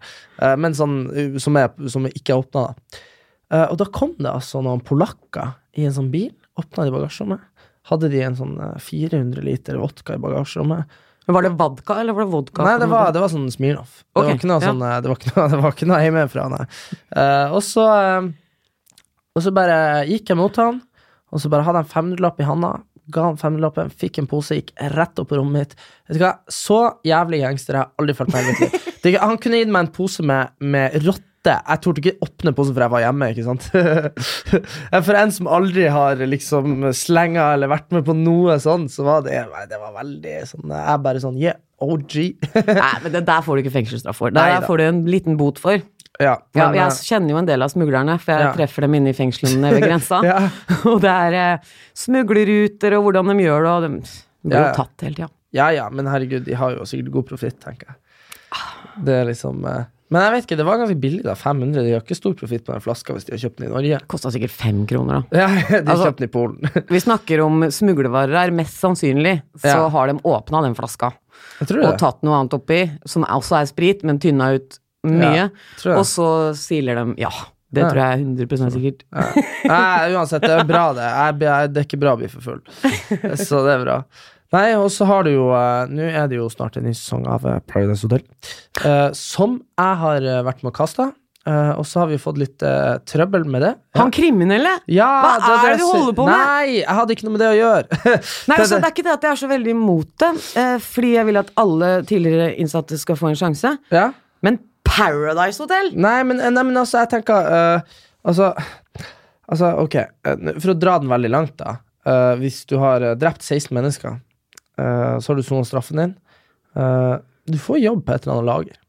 Eh, men sånn uh, som, er, som ikke er åpna, da. Eh, og da kom det altså noen polakker i en sånn bil, åpna de bagasjerommet. Hadde de en sånn eh, 400 liter vodka i bagasjerommet. Men var det vodka, eller var det vodka? Nei, det var, det var sånn Smirnoff. Det, Ok, var ikke noe ja. sånn, eh, det var ikke noe, det var ikke noe hjemmefra, nei. Eh, og så eh, Og så bare gikk jeg mot han, og så bare hadde jeg en 500-lapp i handa. Ga han 500-lappen, fikk en pose, gikk rett opp på rommet mitt. Vet du hva, Så jævlig gangster har jeg aldri følt meg i mitt liv. Det er ikke- Han kunne gitt meg en pose med, med rotte. Jeg torde ikke åpne posen, for jeg var hjemme. ikke sant? for en som aldri har liksom slenga eller vært med på noe sånn, så var det, nei, det var veldig sånn Jeg bare sånn Yeah, OG. Nei, men det der får du ikke fengselsstraff for. Det Nei der da. får du en liten bot for. Ja, Ja, men, eh, jeg kjenner jo en del av smuglerne, for jeg Ja. treffer dem inne i fengslene ved grensa. eh, ja. Og det er eh, smuglerruter og hvordan de gjør det, og de blir Ja, ja. jo tatt hele tida. ja, ja, men herregud, de har jo sikkert god profitt, tenker jeg. Det er liksom eh, Men jeg vet ikke, det var ganske billig, da. 500. De har ikke stor profitt på den flaska hvis de har kjøpt den i Norge. Kosta sikkert fem kroner, da. Ja, de Altså- kjøpte den i Polen. Vi snakker om smuglervarer her, mest sannsynlig så Ja. har de åpna den flaska Jeg tror og det. tatt noe annet oppi, som også er sprit, men tynna ut Ja, mye, tror jeg. og så siler de ja. Det Ja. tror jeg er 100 sikkert. Nei, uansett, det er bra, det. Jeg, jeg, det er ikke bra å bli for full. Så det er bra. Nei, og så har du jo eh, Nå er det jo snart en ny sesong av eh, Paradise Hotel, eh, som jeg har eh, vært med å kaste. Eh, og så har vi fått litt eh, trøbbel med det. Han kriminelle! Ja, Hva er er jeg det du sier. holder på med? Nei, jeg hadde ikke noe med det å gjøre. Nei, Det er altså, det- det er ikke det at jeg er så veldig imot det, eh, fordi jeg vil at alle tidligere innsatte skal få en sjanse, ja? men Paradise Hotel! Nei, men, nei, men altså, jeg tenker eh, Altså, altså ok. eh, For å dra den veldig langt, da. eh, hvis du har eh, drept 16 mennesker, eh, så har du sonet straffen din. Eh, du får jobb på et eller annet lager.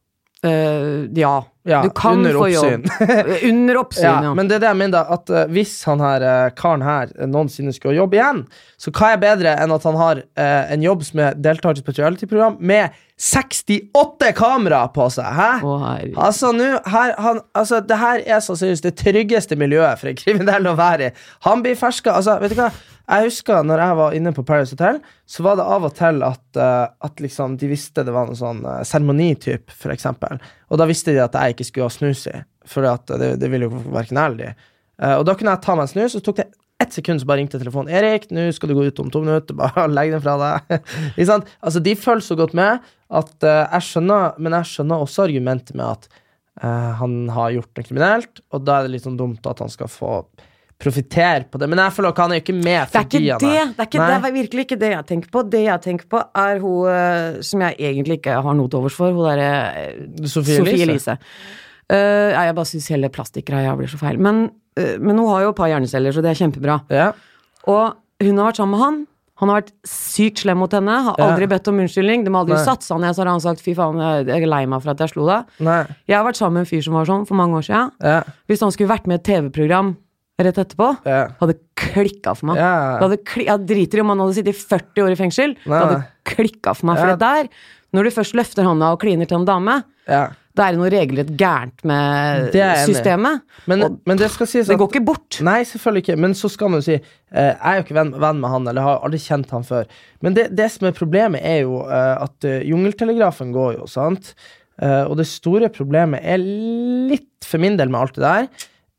Eh, ja, Ja, Du kan under få jobb. Eh, oppsyn. Under oppsyn, ja. Ja, men det er det jeg mener, da, at eh, hvis han her, eh, karen her eh, noensinne skulle jobbe igjen, så hva er bedre enn at han har eh, en jobb som er deltakelse på et reality-program med 68 kameraer på seg? Hæ? Å, herregud. Altså, nå, her, han, altså, det her er så seriøst det tryggeste miljøet for en kriminell å være i. Han blir ferska. Altså, vet du hva? Jeg husker når jeg var inne på Paris Hotel, så var det av og til at, eh, at liksom, de visste det var noe sånn uh, seremonityp, for eksempel. Og da visste de at jeg ikke skulle ha snus i, for at det, det ville jo hverken jeg eller de. Eh, og da kunne jeg ta meg en snus, og så tok det ett sekund, så bare ringte telefonen. 'Erik, nå skal du gå ut om to minutter. Bare legg den fra deg.' ikke sant? Altså, de følger så godt med at eh, jeg skjønner, men jeg skjønner også argumentet med at Eh, han har gjort det kriminelt, og da er det litt sånn dumt at han skal få profitere på det. Men jeg føler ikke han er ikke Det med er fordi ikke han det. Det er, ikke, det Nei. er virkelig ikke det jeg tenker på. Det jeg tenker på, er hun eh, som jeg egentlig ikke har noe til overs for, hun derre eh, Sophie Sophie Elise. Elise. Eh, nei, jeg bare syns hele plastikkgreia blir så feil. Men, eh, men hun har jo et par hjerneceller, så det er kjempebra. Ja. Og hun har vært sammen med han. Han har vært sykt slem mot henne, har Ja. aldri bedt om unnskyldning. De har aldri Nei. satsa ned, så har han sagt 'fy faen, jeg jeg er lei meg for at jeg slo deg'. Nei. Jeg har vært sammen med en fyr som var sånn for mange år siden. Ja. Hvis han skulle vært med i et TV-program rett etterpå, Ja. hadde klikka for meg. Ja. Det hadde kli jeg driter i om han hadde sittet i 40 år i fengsel. Nei, Det hadde klikka for meg. For Ja. det der, når du først løfter hånda og kliner til en dame, Ja. da er det noe regelrett gærent med Det er jeg enig i. systemet. Men, og men det skal sies det at går ikke bort. Nei, selvfølgelig ikke. Men så skal man jo si eh, Jeg er jo ikke venn, venn med han, eller har aldri kjent han før. Men det, det som er problemet, er jo eh, at eh, jungeltelegrafen går jo, sant? Eh, og det store problemet er litt for min del med alt det der,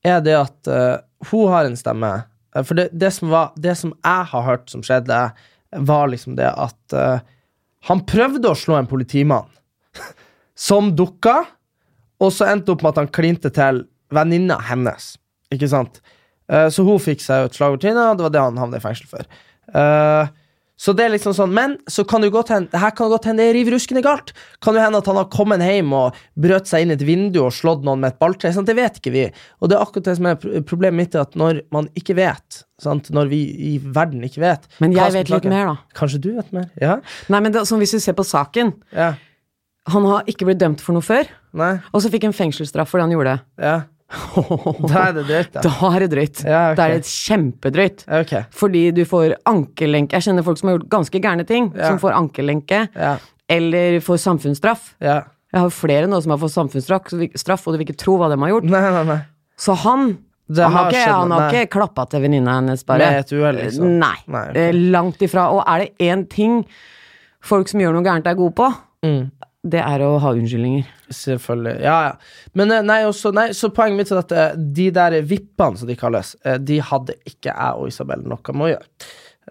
er det at eh, hun har en stemme. Eh, For det, det, som var, det som jeg har hørt som skjedde, var liksom det at eh, han prøvde å slå en politimann, som dukka, og så endte opp med at han klinte til venninna hennes. Ikke sant? Eh, Så hun fikk seg jo et slag over trynet, og det var det han havnet i fengsel for. Eh, Så det er liksom sånn, Men så kan det jo godt hende her kan det godt hende det er riv ruskende galt. Kan jo hende at han har kommet hjem og brøt seg inn i et vindu og slått noen med et balltre. sant? Det vet ikke vi. Og det er akkurat det som er pro- problemet mitt, er at når man ikke vet, sant? når vi i verden ikke vet Men jeg hva som er vet litt saken- mer, da. Kanskje du vet mer? Ja? Nei, men det, er sånn hvis du ser på saken Ja. Han har ikke blitt dømt for noe før, Nei? og så fikk han fengselsstraff fordi han gjorde det. Ja. Da er det drøyt, da. Da er det drøyt. Ja, ok. Da er det kjempedrøyt. Ok. Fordi du får ankelenke. Jeg kjenner folk som har gjort ganske gærne ting, Ja. som får ankelenke Ja. eller får samfunnsstraff. Ja. Jeg har flere nå som har fått samfunnsstraff, så vi- straff, og du vil ikke tro hva de har gjort. Nei, nei, nei. Så han Det han har har ikke, skjedd, han har nei. ikke klappa til venninna hennes, bare. Med et uhell, liksom. Nei. Nei, ok. Eh, Langt ifra. Og er det én ting folk som gjør noe gærent, er gode på, Mm. det er å ha unnskyldninger. Selvfølgelig. Ja, ja. Men eh, nei, også, nei, så poenget mitt er at eh, de der vippene, som de kalles, eh, de hadde ikke jeg og Isabel noe med å gjøre.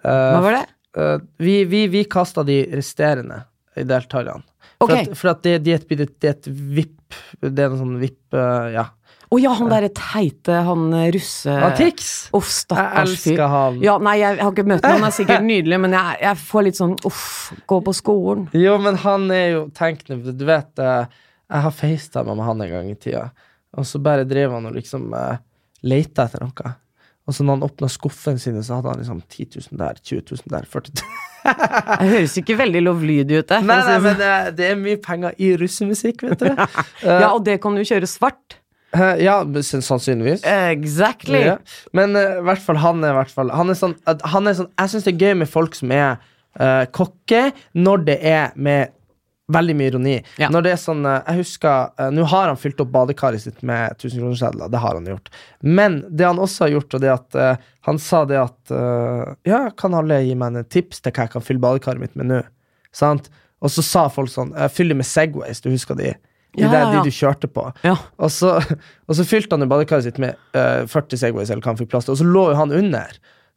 Hva var det? Eh, Vi, vi, vi kasta de resterende deltakerne. For, Ok. at, for at det, det, er et, det er et vipp Det er noe sånn vipp eh, Ja. Å ja, han derre teite, han eh, russe... Han Tix! Uff, stakkars fyr. Jeg elsker han. Ja, nei, jeg har ikke møtt ham. Han er sikkert nydelig, men jeg, jeg får litt sånn uff, gå på skolen. Jo, men han er jo Tenk nå, du vet eh, Jeg har facetime med han en gang i tida, og så bare drev han og liksom uh, leita etter noe. Og så når han åpna skuffene sine, så hadde han liksom 10 000 der, 20 000 der, 40 000 Jeg høres ikke veldig lovlydig ut, jeg. for Nei, å si det nei, men Eh. det, det er mye penger i russemusikk, vet du. sånn. Ja, og det kan du kjøre svart. Eh, ja, men sann- sannsynligvis. Eh, Exactly. Ja. Men eh, i hvert fall han er i hvert fall han er sånn, at han er sånn, Jeg syns det er gøy med folk som er eh, kokke, når det er med veldig mye ironi. Ja. Når det er sånn eh, Jeg husker eh, Nå har han fylt opp badekaret sitt med 1000-kronersedler. Det har han gjort. Men det han også har gjort, og det at eh, han sa det at eh, Ja, kan alle gi meg en tips til hva jeg kan fylle badekaret mitt med nå? Sant? Og så sa folk sånn eh, Fyll det med Segways, du husker de? De, Ja, der, ja, ja. de du kjørte på. Ja. Og så, og så fylte han jo badekaret sitt med eh, 40 Segways, eller hva han fikk plass til, og så lå jo han under.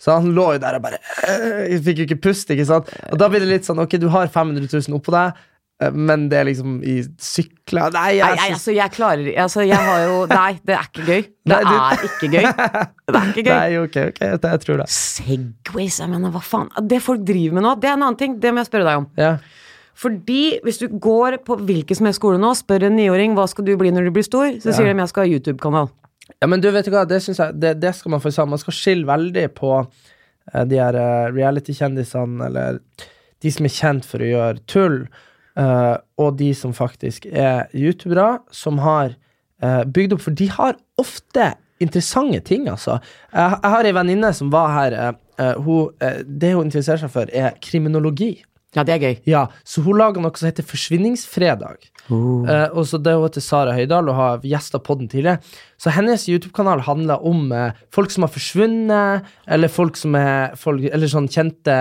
Så han lå jo der og bare eh, Fikk jo ikke pust, ikke sant? Og da blir det litt sånn Ok, du har 500 000 oppå deg, eh, men det er liksom i sykler Nei, Nei, jeg nei, synes altså, jeg klarer altså, jeg har jo Nei, det er ikke gøy. Det Nei, du- er ikke gøy. Det er ikke gøy. Nei, ok, ok, jeg, jeg tror det. Segways, jeg mener, hva faen? Det folk driver med nå, det er en annen ting. Det må jeg spørre deg om. Ja. Fordi hvis du går på hvilken som helst skole nå, spør en niåring hva skal du bli når du blir stor, så sier de jeg skal ha YouTube-kanal. ja, men du vet du hva, det synes jeg det, det skal man få sammen. Man skal skille veldig på eh, de her eh, reality-kjendisene, eller de som er kjent for å gjøre tull, eh, og de som faktisk er youtubere, som har eh, bygd opp, for de har ofte interessante ting, altså. Jeg, jeg har ei venninne som var her. eh, eh, hun, eh, det hun interesserer seg for, er kriminologi. Ja, det er gøy. Ja, Så hun lager noe som heter Forsvinningsfredag. Eh, og så det Hun heter Sara Høydahl og har gjesta podden tidligere. Så hennes YouTube-kanal handler om eh, folk som har forsvunnet, eller folk som er folk, eller sånn kjente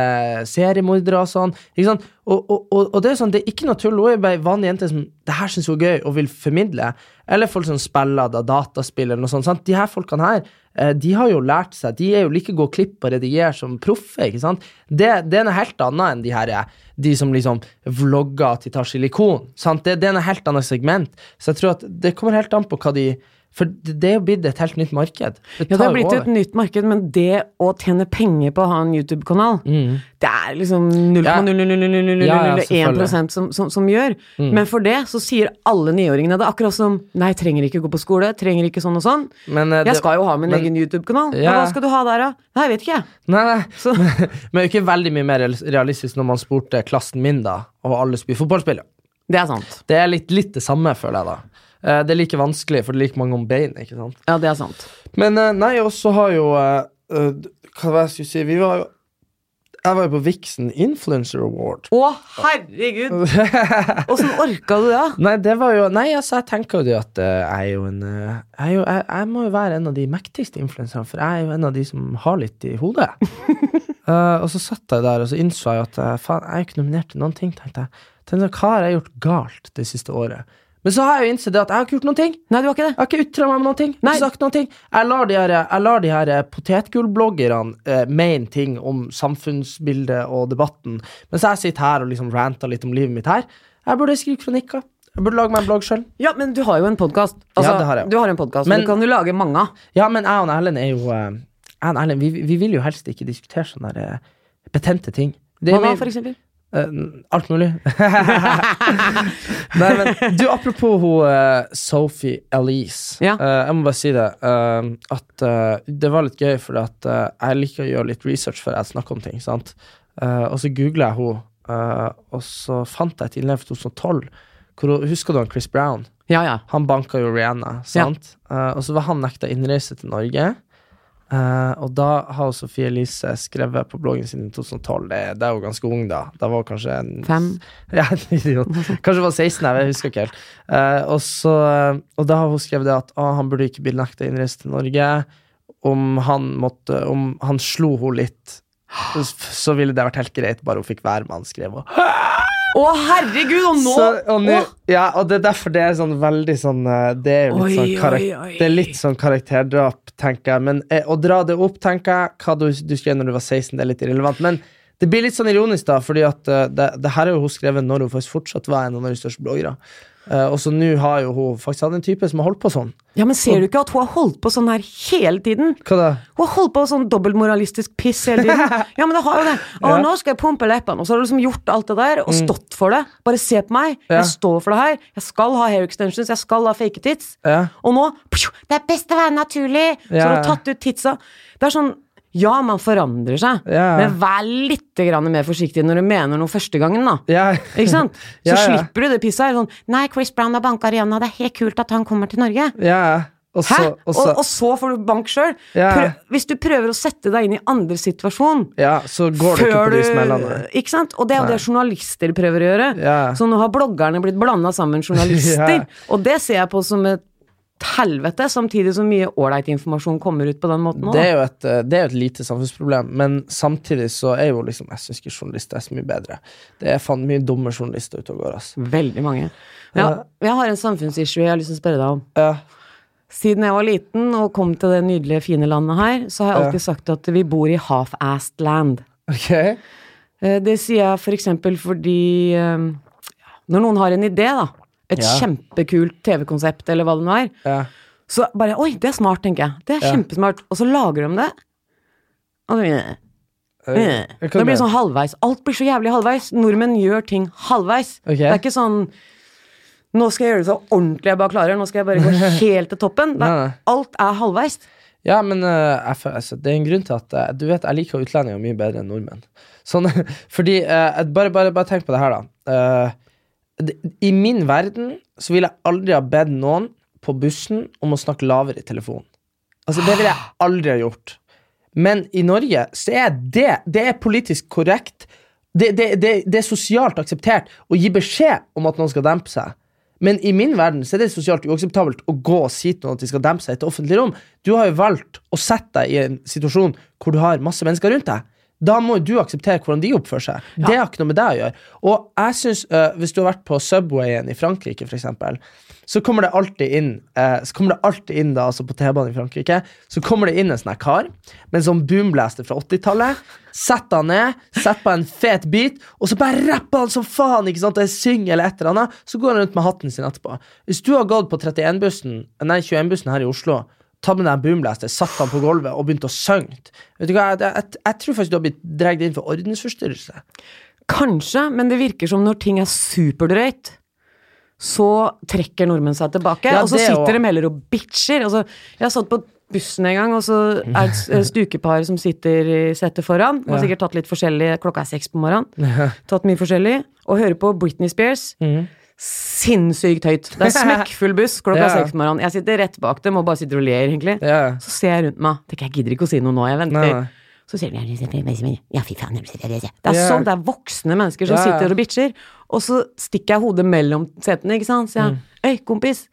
seriemordere og sånn. Ikke sant? Og, og, og, og det er sånn, det er ikke noe tull. Hun er bare ei vanlig jente som det her syns hun er gøy og vil formidle. Eller folk som spiller da, dataspill eller noe sånt. Sant? De her folkene her eh, de har jo lært seg, de er jo like gode klipp og redigere som proffe. ikke sant? Det, det er noe helt annet enn de her, eh, de som liksom vlogger at de tar silikon. sant? Det, det er noe helt annet segment. Så jeg tror at det kommer helt an på hva de For det det er jo blitt et helt nytt marked. Ja, det har blitt et nytt marked, men det å tjene penger på å ha en YouTube-kanal, det er liksom Ja. Ja, ja, 0,00001 selvfølgelig. som, som, som gjør. Men for det så sier alle niåringene det, akkurat som nei, trenger ikke gå på skole, trenger ikke sånn og sånn. Men, eh, jeg det- skal jo ha min men- egen YouTube-kanal. Men Ja. Hva skal du ha der, da? Nei, jeg vet ikke, jeg. Nei, nei. Så- Men, men det er jo ikke veldig mye mer realistisk når man spurte klassen min, da, og alle skulle bli fotballspillere. Det er sant. Det er litt, litt det samme, føler jeg, da. Eh, Det er like vanskelig, for det er like mange om bein, ikke sant. Ja, det er sant. Men eh, nei, og så har jo eh, eh, Hva var det jeg skulle si? Vi var jo Jeg var jo på Vixen Influencer Award. Å, herregud! Åssen orka du det? da? Nei, det var jo Nei, altså, jeg tenker jo det at eh, jeg er jo en eh, jeg, er jo, jeg, jeg må jo være en av de mektigste influenserne, for jeg er jo en av de som har litt i hodet. Eh, og så satt jeg der, og så innså jeg at eh, faen, jeg er jo ikke nominert til noen ting, tenkte jeg. Tenkte, jeg, hva har jeg gjort galt det siste året? Men så har jeg jo innsett det at jeg har ikke gjort noen ting. Nei, du var ikke Jeg det. har ikke ytra meg om noen ting. Nei. Ikke sagt noen ting. Jeg lar de her, jeg lar de her eh, potetgullbloggerne eh, mene ting om samfunnsbildet og debatten, mens jeg sitter her og liksom ranter litt om livet mitt her. Jeg burde skrive kronikker. Jeg burde lage meg en blogg sjøl. Ja, men du har jo en podkast. Altså, det har jeg. Du har en podkast, Men- du kan jo lage mange av. Ja, men jeg og Erlend er jo eh, jeg og Erlend, vi, vi vil jo helst ikke diskutere sånne der, eh, betente ting. Det er Hva da, min- for eksempel? Eh, alt mulig. Nei, men du, apropos hun eh, Sophie Elise. Ja. Eh, jeg må bare si det. eh, at eh, det var litt gøy, for at, eh, jeg liker å gjøre litt research før jeg snakker om ting. Sant? Eh, og så googla jeg henne, og så fant jeg et innlegg fra 2012. Hvor, hun- husker du han Chris Brown? Ja, ja. Han banka jo Rihanna, sant? Eh, og så var han nekta innreise til Norge. Eh, og da har Sofie Elise skrevet på bloggen sin i 2012. Det, det er jo ganske ung, da. Da var hun kanskje en, Fem. Ja, en idiot. Kanskje hun var 16, jeg husker ikke helt. Eh, og, så, og da har hun skrevet det at ah, han burde ikke bli nekta innreise til Norge. Om han, måtte, om han slo henne litt, så ville det vært helt greit, bare hun fikk være med han, skrev hun. Å, herregud, og nå Så, og nå- Å, ja, og det er derfor det er sånn veldig sånn eh, Det er jo litt, Oi, sånn, karak oi, oi. Det er litt sånn karakterdrap, tenker jeg. Men eh, å dra det opp, tenker jeg, hva du, du skrev når du var 16, det er litt irrelevant. Men det blir litt sånn ironisk, da, fordi at eh, det, det her er jo hun skrevet når hun faktisk fortsatt var en av Norges største bloggere. Eh, og så nå har jo hun faktisk hatt en type som har holdt på sånn. Ja, men ser du ikke at hun har holdt på sånn her hele tiden? Hva da? Hun har holdt på sånn dobbeltmoralistisk piss hele tiden. Ja, men det har jo det. Å, nå skal jeg pumpe leppene. Og så har du liksom gjort alt det der, og stått for det. Bare se på meg. Mm. Ja. Jeg står for det her. Jeg skal ha hair extensions, jeg skal ha fake tits. Ja. Og nå pju, Det er best å være naturlig! Så Ja. har hun tatt ut titsa. Det er sånn Ja, man forandrer seg, Ja. men vær litt grann mer forsiktig når du mener noe første gangen, da. Ja. Ikke sant? Så Ja, ja. slipper du det pisset her. Sånn, Nei, Chris Brown har banka Rihanna, det er helt kult at han kommer til Norge. Ja, og Hæ? så, Og, og så, og så får du bank sjøl? Ja. Hvis du prøver å sette deg inn i andres situasjon ja, så går det ikke på de smellene. ikke sant? Og det er jo det journalister prøver å gjøre. Ja. Så nå har bloggerne blitt blanda sammen journalister. Ja. Og det ser jeg på som et helvete, samtidig som mye ålreit informasjon kommer ut på den måten Det òg. er, jo et, eh, det er jo et lite samfunnsproblem, men samtidig så er jo liksom Jeg syns ikke journalister er så mye bedre. Det er faen mye dumme journalister ute og går, altså. Veldig mange. Ja, jeg har en samfunnsissue jeg har lyst til å spørre deg om. Ja. Siden jeg var liten og kom til det nydelige, fine landet her, så har jeg alltid sagt at vi bor i half-assed land. Ok? Eh, Det sier jeg for eksempel fordi eh, når noen har en idé, da. Et Ja. kjempekult TV-konsept, eller hva det nå er. Ja. Så bare Oi, det er smart, tenker jeg. Det er Ja. kjempesmart. Og så lager de det. Og det, Eh, det jeg kan blir det. sånn halvveis. Alt blir så jævlig halvveis. Nordmenn gjør ting halvveis. Ok. Det er ikke sånn Nå skal jeg gjøre det så ordentlig jeg bare klarer. Nå skal jeg bare gå helt til toppen. Det, Nei, nei. alt er halvveis. Ja, men eh, jeg, føl- altså, det er en grunn til at eh, Du vet, jeg liker utlendinger mye bedre enn nordmenn. Sånn, fordi eh, jeg- bare, bare, bare tenk på det her, da. Eh, det- I min verden så ville jeg aldri ha bedt noen på bussen om å snakke lavere i telefonen. Altså, det ville jeg aldri ha gjort. Men i Norge så er det Det er politisk korrekt. Det, det, det, det er sosialt akseptert å gi beskjed om at noen skal dempe seg. Men i min verden så er det sosialt uakseptabelt å gå og si til noen at de skal dempe seg i et offentlig rom. Du har jo valgt å sette deg i en situasjon hvor du har masse mennesker rundt deg. Da må jo du akseptere hvordan de oppfører seg. Det har ikke noe med deg å gjøre. Og jeg synes, eh, Hvis du har vært på Subwayen i Frankrike, for eksempel, så kommer det alltid inn eh, Så kommer det alltid inn da, altså på T-banen i Frankrike Så kommer det inn en sånn her kar med en sånn boomblaster fra 80-tallet. Setter han ned, setter på en fet beat, og så bare rapper han som faen! ikke sant, og synger eller et eller annet, Så går han rundt med hatten sin etterpå. Hvis du har gått på 31-bussen, nei 21-bussen her i Oslo Ta med deg en boomblaster, satt han på gulvet og begynte å synge. Vet du hva, jeg, jeg, jeg tror faktisk du har blitt dratt inn for ordensforstyrrelse. Kanskje, men det virker som når ting er superdrøyt, så trekker nordmenn seg tilbake. Ja, og så det sitter også. de heller og bitcher. Altså, jeg satt på bussen en gang, og så er det et stukepar som sitter i setet foran. Har sikkert tatt litt forskjellig, klokka er seks på morgenen. Tatt mye forskjellig. Og hører på Britney Spears. Mm. Sinnssykt høyt. Det er smekkfull buss klokka Ja. er seks på morgenen. Jeg sitter rett bak dem og bare sitter og ler, egentlig. Ja. Så ser jeg rundt meg. Tenker, jeg gidder ikke å si noe nå, jeg venter. Nei. Så sier de Ja, fy faen. Det er Ja. sånn, det er voksne mennesker som Ja. sitter og bitcher. Og så stikker jeg hodet mellom setene, ikke sant. Mm. Så jeg Øy, kompis.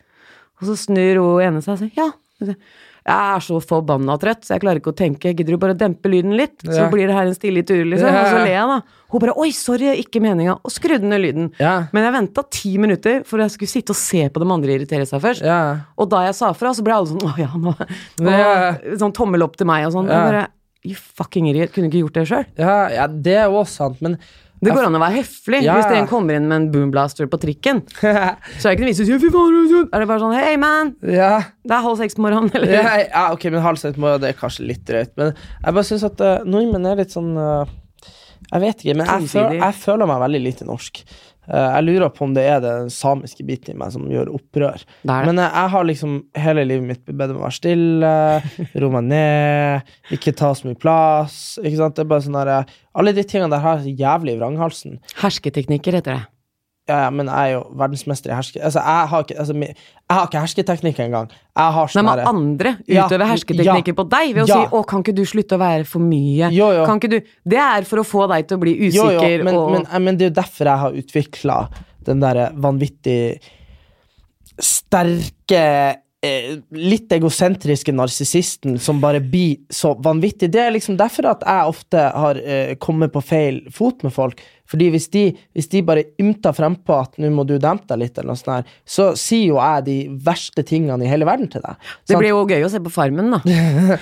Og så snur hun ene seg og sier ja. Så sier jeg, Jeg er så forbanna trøtt, så jeg klarer ikke å tenke. Gidder du bare å dempe lyden litt? Så Ja. blir det her en stille tur, liksom. Ja. Og så ler jeg, da. Hun bare oi, sorry, ikke meninga. Og skrudde ned lyden. Ja. Men jeg venta ti minutter, for jeg skulle sitte og se på de andre irritere seg først. Ja. Og da jeg sa fra, så ble alle sånn Å ja, nå Ja. og, Sånn tommel opp til meg og sånn. Ja. Jeg bare You fucking idiot. Kunne ikke gjort det sjøl. Ja, ja, det er også sant, men Det går an å være høflig Ja. hvis det en kommer inn med en boomblaster på trikken. Så er det ikke noe vits i å si fy faen, du er sånn». Er det bare sånn Hei, man! ja, Det er halv seks på morgenen, eller? ja, ja, ok, men halv sett må det er kanskje litt drøyt. Men jeg bare syns at eh, nordmenn er litt sånn eh, Jeg vet ikke, men jeg, føl, Tosidig. jeg føler meg veldig lite norsk. Eh, jeg lurer på om det er den samiske biten i meg som gjør opprør. Det er det. Men eh, jeg har liksom hele livet mitt bedt om å være stille, roe meg ned, ikke ta så mye plass. Ikke sant? Det er bare sånn der, eh, Alle de tingene der har jeg så jævlig i vranghalsen. Hersketeknikker heter det. Ja, ja, men jeg er jo verdensmester i herske... Altså, jeg har ikke, altså, mi- jeg har ikke hersketeknikk engang. Jeg har Nei, sånn men derre- andre Ja. utøver hersketeknikker på Ja. deg ved å Ja. si 'Å, kan ikke du slutte å være for mye?' Jo, jo. Kan ikke du Det er for å få deg til å bli Jo, jo, usikker men, og men, eh, men det er jo derfor jeg har utvikla den derre vanvittig sterke eh, Litt egosentriske narsissisten som bare blir så vanvittig. Det er liksom derfor at jeg ofte har eh, kommet på feil fot med folk. Fordi hvis de, hvis de bare ymter frempå at 'nå må du dempe deg litt', eller noe sånt, her, så sier jo jeg de verste tingene i hele verden til deg. Det Sant? blir jo gøy å se på Farmen, da.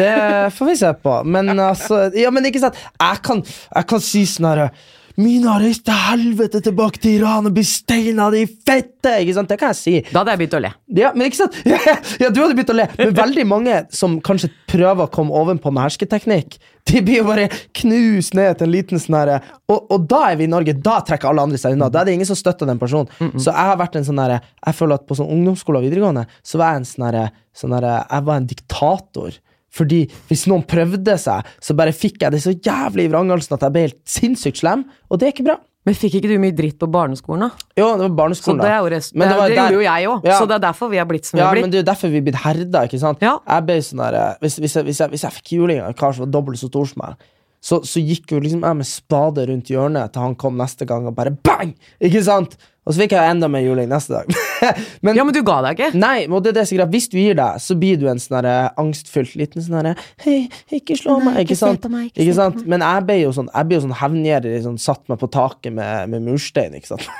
Det får vi se på. Men altså Ja, men ikke sant? Jeg kan, jeg kan si sånn herre Mina har reist til helvete tilbake til Iran og blir steina di i fette! Ikke sant? Det kan jeg si. Da hadde jeg begynt å le. Ja, men ikke sant? Ja, du hadde begynt å le. Men veldig mange som kanskje prøver å komme ovenpå med hersketeknikk, de blir jo bare knust ned til en liten sånn herre og, og da er vi i Norge. Da trekker alle andre seg unna. Da er det ingen som støtter den personen. Så jeg har vært en sånn herre Jeg føler at på sånn ungdomsskole og videregående så var jeg en sånn herre sånn herre- Jeg var en diktator. Fordi hvis noen prøvde seg, så bare fikk jeg det så jævlig i vrangelsen at jeg ble helt sinnssykt slem, og det er ikke bra. Men fikk ikke du mye dritt på barneskolen, da? Jo, det var Så barneskolen, det, er da. jo rest, Men det, var det der- gjorde jo jeg òg, Ja. så det er derfor vi har blitt som vi Ja, har men blitt. det er jo derfor vi er blitt herda. ikke sant? Ja. Jeg ble sånn der, eh, hvis, hvis, jeg, hvis, jeg, hvis jeg fikk juling av en kar som var dobbelt så stor som meg, så, så gikk jo liksom jeg med spade rundt hjørnet til han kom neste gang og bare bang! Ikke sant? Og så fikk jeg enda mer juling neste dag. men, Ja, men du ga deg ikke? Nei, og det er det som er greit. Hvis du gir deg, så blir du en sånn derre angstfylt liten sånn derre Hei, ikke slå meg, ikke, sant? ikke, sant? Men jeg ble jo sånn Jeg ble jo sånn hevngjerrig, sånn, satt meg på taket med, med murstein, ikke sant?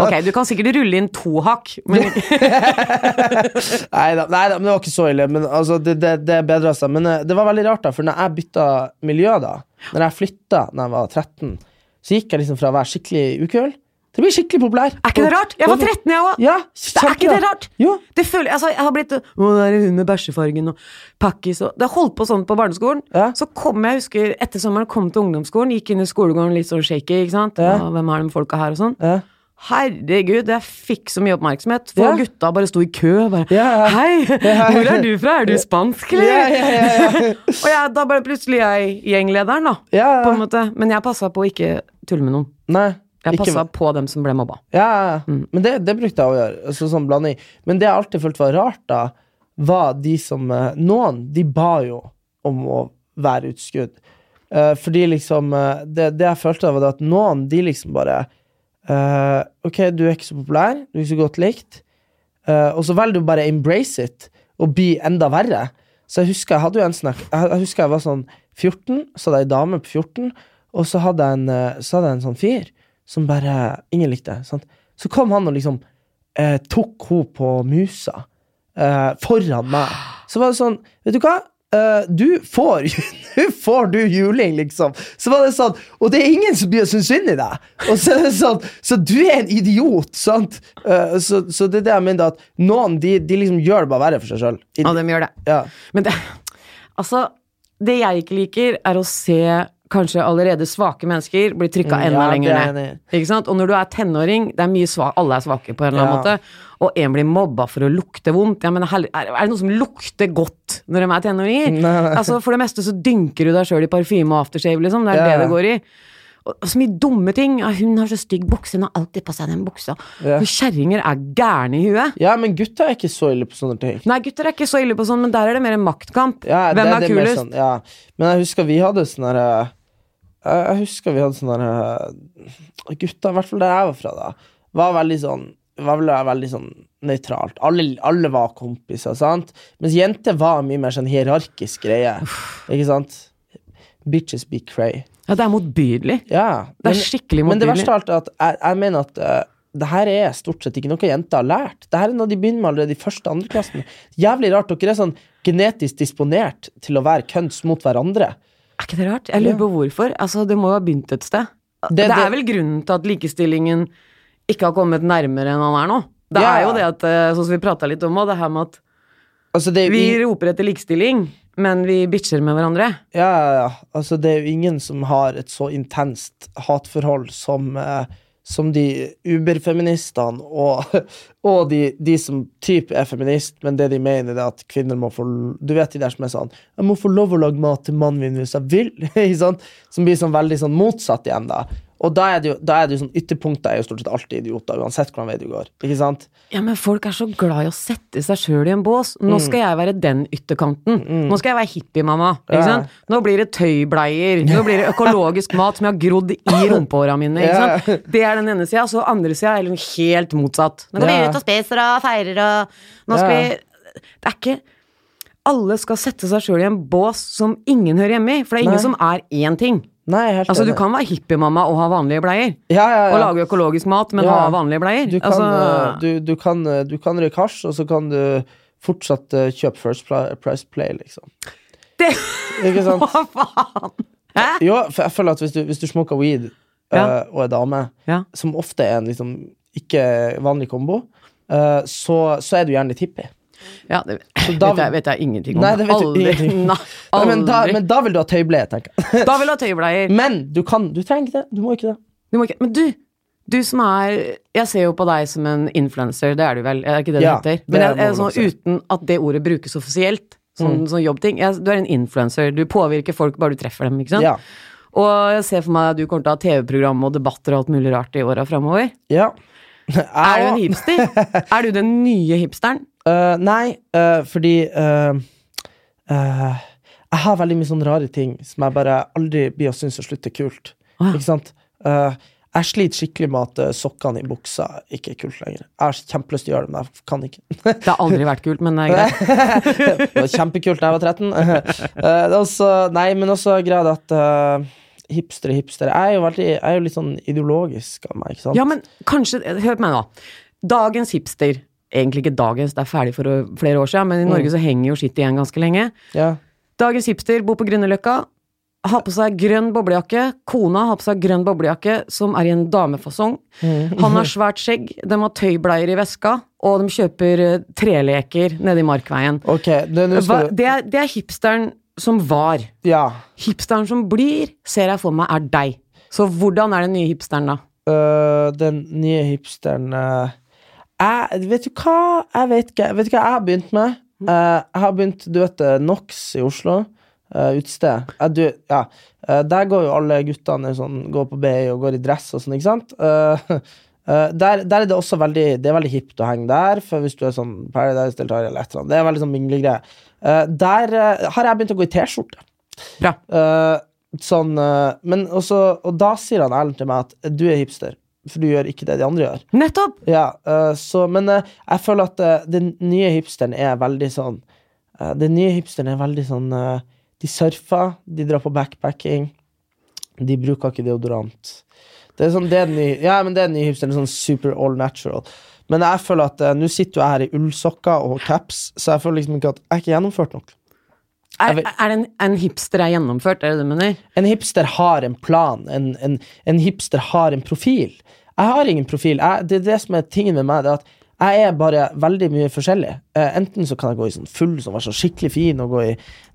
Ok, du kan sikkert rulle inn to hakk, men ikke- Neida, neida, men det var ikke så ille. Men altså, det, det, det bedra seg. Men eh, det var veldig rart, da, for når jeg bytta miljø, da Når jeg flytta da jeg var 13, så gikk jeg liksom fra å være skikkelig ukul til å bli skikkelig populær. Er ikke det rart? Jeg var 13 jeg òg! Ja, Det er ikke det kjemperart. rart! Jo. Det føler, altså, jeg har blitt Å, der er hun med bæsjefargen og pakkis og Det har holdt på sånn på barneskolen. Ja. Så kom jeg, husker etter sommeren, kom til ungdomsskolen, gikk inn i skolegården litt sånn shaky, ikke sant. Ja. Og, hvem er de folka her, og sånn. Ja. Herregud, jeg fikk så mye oppmerksomhet. For Ja. gutta bare sto i kø. og Bare, Ja. Hei, Ja. hvor er du fra? Er du spansk, eller? Ja, ja, ja, ja. Og jeg, da ble plutselig jeg gjenglederen, da. Ja, ja. På en måte. Men jeg passa på å ikke tulle med noen. Nei. Jeg Ikke passa hva- på dem som ble mobba. Ja, ja, ja. men det, det brukte jeg å gjøre. Altså, sånn blanding. Men det jeg alltid følte var rart, da, var de som eh, Noen de ba jo om å være utskudd. Eh, fordi liksom eh, det, det jeg følte, var det at noen de liksom bare eh, Ok, du er ikke så populær, du er ikke så godt likt. Eh, og så velger du bare å embrace it og bli enda verre. Så jeg husker jeg hadde jo en snakk Jeg, jeg husker jeg var sånn 14, så hadde jeg ei dame på 14, og så hadde jeg en, eh, så hadde jeg en sånn fyr som bare Ingen likte. Sant? Så kom han og liksom eh, tok henne på musa eh, foran meg. Så var det sånn Vet du hva? Eh, du får Nå får du juling, liksom. Så var det sånn Og det er ingen som blir synes synd i deg. Og så er det sånn Så du er en idiot, sant? Eh, så, så det er det jeg mener, at noen de, de liksom gjør det bare verre for seg sjøl. Og dem gjør det. Ja. Men det, altså, det jeg ikke liker, er å se kanskje allerede svake mennesker bli trykka Mm, enda ja, det lenger er jeg ned. Ikke sant? Og når du er tenåring, det er mye sva- alle er svake på en eller annen Ja. måte, og en blir mobba for å lukte vondt. Ja, men hel- er, er det noen som lukter godt når de er tenåringer? Altså, for det meste så dynker du deg sjøl i parfyme og aftershave, liksom. Det er Ja. det det går i. Og og så mye dumme ting. Ja, hun har så stygg bukse, hun har alltid på seg den buksa. Ja. For Kjerringer er gærne i huet. ja, men gutta er ikke så ille på sånne ting. Nei, gutter er ikke så ille på sånn, men der er det mer en maktkamp. Hvem Ja, det, er det mer kulest? Sånn, ja. Men jeg husker vi hadde sånn derre jeg, jeg husker vi hadde sånn derre Gutta, i hvert fall der jeg var fra, da, var veldig sånn var vel veldig sånn nøytralt. Alle, alle var kompiser, sant? Mens jenter var mye mer sånn hierarkisk greie. Ikke sant? Bitches be cray. Ja, det er motbydelig. Ja. Det er skikkelig Men det motbydelig. verste av alt er at jeg, jeg mener at eh, det her er stort sett ikke noe jenter har lært. Det her er noe de begynner med allerede i første andre klassen. Jævlig rart. Dere er sånn genetisk disponert til å være kønns mot hverandre. Er ikke det rart? Jeg lurer på hvorfor. Altså, det må jo ha begynt et sted. Det, Det- er det- vel grunnen til at likestillingen ikke har kommet nærmere enn han er nå. Det Ja, er ja. jo det at, eh, sånn som vi prata litt om òg, det her med at Altså, det er jo vi ing- roper etter likestilling, men vi bitcher med hverandre. ja, ja, ja. Altså, det er jo ingen som har et så intenst hatforhold som, eh, som de uberfeministene og, og de, de som type er feminist, men det de mener, det er at kvinner må få Du vet de der som er sånn 'Jeg må få lov å lage mat til mannen min hvis jeg vil.' ikke sant? Som blir sånn veldig sånn motsatt igjen, da. Og da er det jo, da er det jo sånn ytterpunkter er jo stort sett alltid idioter, uansett hvordan vei du går. Ikke sant? Ja, men folk er så glad i å sette seg sjøl i en bås. Mm. Nå skal jeg være den ytterkanten. Nå skal jeg være hippiemamma. Ikke Ja. sant? Nå blir det tøybleier. Nå blir det økologisk mat som jeg har grodd i rumpehåra mine. Ja. Ikke sant? Det er den ene sida. Så andre sida er liksom helt motsatt. Nå går Ja. vi ut og spiser og feirer og Nå skal Ja. vi Det er ikke Alle skal sette seg sjøl i en bås som ingen hører hjemme i. For det er ingen Nei. som er én ting. Nei, helt Altså, du enig. kan være hippiemamma og ha vanlige bleier. ja, ja, ja. Og lage økologisk mat, men Ja. ha vanlige bleier. Du kan, altså, eh, du, du kan, eh, du kan røyke hasj, og så kan du fortsatt eh, kjøpe First Pri- Price Play, liksom. Det- Ikke sant? Hva faen? Hæ? Jo, for jeg føler at hvis du, hvis du smoker weed eh, Ja. og er dame, Ja. som ofte er en liksom ikke vanlig kombo, eh, så, så er du gjerne litt hippie. Ja, det da- vet, jeg, vet jeg ingenting om. Nei, det vet du aldri. ingenting. Nei, Nei, men, da, aldri. men da vil du ha tøybleie, tenker jeg. da vil du ha tøybleier. Men du kan, du trenger ikke det. Du må ikke det. Du må ikke, men du, du som er Jeg ser jo på deg som en influenser, det er du vel? Er det ikke det det Ja, heter? det Men jeg, må jeg, vi nok sånn, si. Mm. uten at det ordet brukes offisielt, sånn, sånn jobbting. Jeg, du er en influenser. Du påvirker folk bare du treffer dem, ikke sant? Ja. Og jeg ser for meg at du kommer til å ha TV-program og debatter og alt mulig rart i åra framover. Ja. Er du en hipster? er du den nye hipsteren? Eh, nei, eh, fordi eh, eh, Jeg har veldig mye sånne rare ting som jeg bare aldri blir å synes å slutte kult. Å ja. Ikke sant? Eh, jeg sliter skikkelig med at eh, sokkene i buksa ikke er kult lenger. Jeg har kjempelyst til å gjøre det, men jeg kan ikke. Det har aldri vært kult, men det er greit. det var kjempekult da jeg var 13. Eh, det er også, nei, men også greia det at eh, hipstere, hipstere Jeg er jo, veldig, jeg er jo litt sånn ideologisk av meg, ikke sant? Ja, men kanskje Hør på meg nå. Dagens hipster Egentlig ikke dagens, det er ferdig for å- flere år siden, men i Mm. Norge så henger jo skitt igjen ganske lenge. Ja. Dagens hipster bor på Grünerløkka, har på seg grønn boblejakke. Kona har på seg grønn boblejakke som er i en damefasong. Mm. Han har svært skjegg, de har tøybleier i veska, og de kjøper eh, treleker nede i Markveien. Ok, nå nå Hva, skal du det, er, det er hipsteren som var. Ja. Hipsteren som blir, ser jeg for meg er deg. Så hvordan er den nye hipsteren da? Øh, den nye hipsteren øh, jeg, Vet du Øh, hva? Jeg vet ikke. Vet du hva jeg har begynt med? Eh, jeg har begynt Du vet eh, øh, NOx i Oslo. eh, utested. Eh, du, ja. eh, der går jo alle guttene sånn, går på BI og går i dress og sånn, ikke sant? Eh, eh, der, der er det også veldig Det er veldig hipt å henge der, for hvis du er sånn Paradise-deltaker eller et eller annet. Det er veldig sånn minglegreie. Eh, der eh, har jeg begynt å gå i T-skjorte. Bra. Eh, sånn, eh, men også, og da sier han Erlend til meg at du er hipster, for du gjør ikke det de andre gjør. Nettopp! Ja, eh, så, men eh, jeg føler at eh, den nye hipsteren er veldig sånn eh, Den nye hipsteren er veldig sånn eh, De surfer, de drar på backpacking, de bruker ikke deodorant. Det er sånn, det er den nye, ja, men det er den nye hipsteren. Sånn super all natural. Men jeg føler at eh, nå sitter jo jeg her i ullsokker og caps, så jeg føler liksom ikke at jeg er ikke gjennomført nok. Er, Jeg vil- er det en, en hipster er gjennomført, er det det du mener? En hipster har en plan. En, en, en hipster har en profil. Jeg har ingen profil. Jeg, det er det som er tingen med meg. Det er at jeg er bare veldig mye forskjellig. Eh, enten så kan jeg gå i sånn full som var så skikkelig fin, og gå i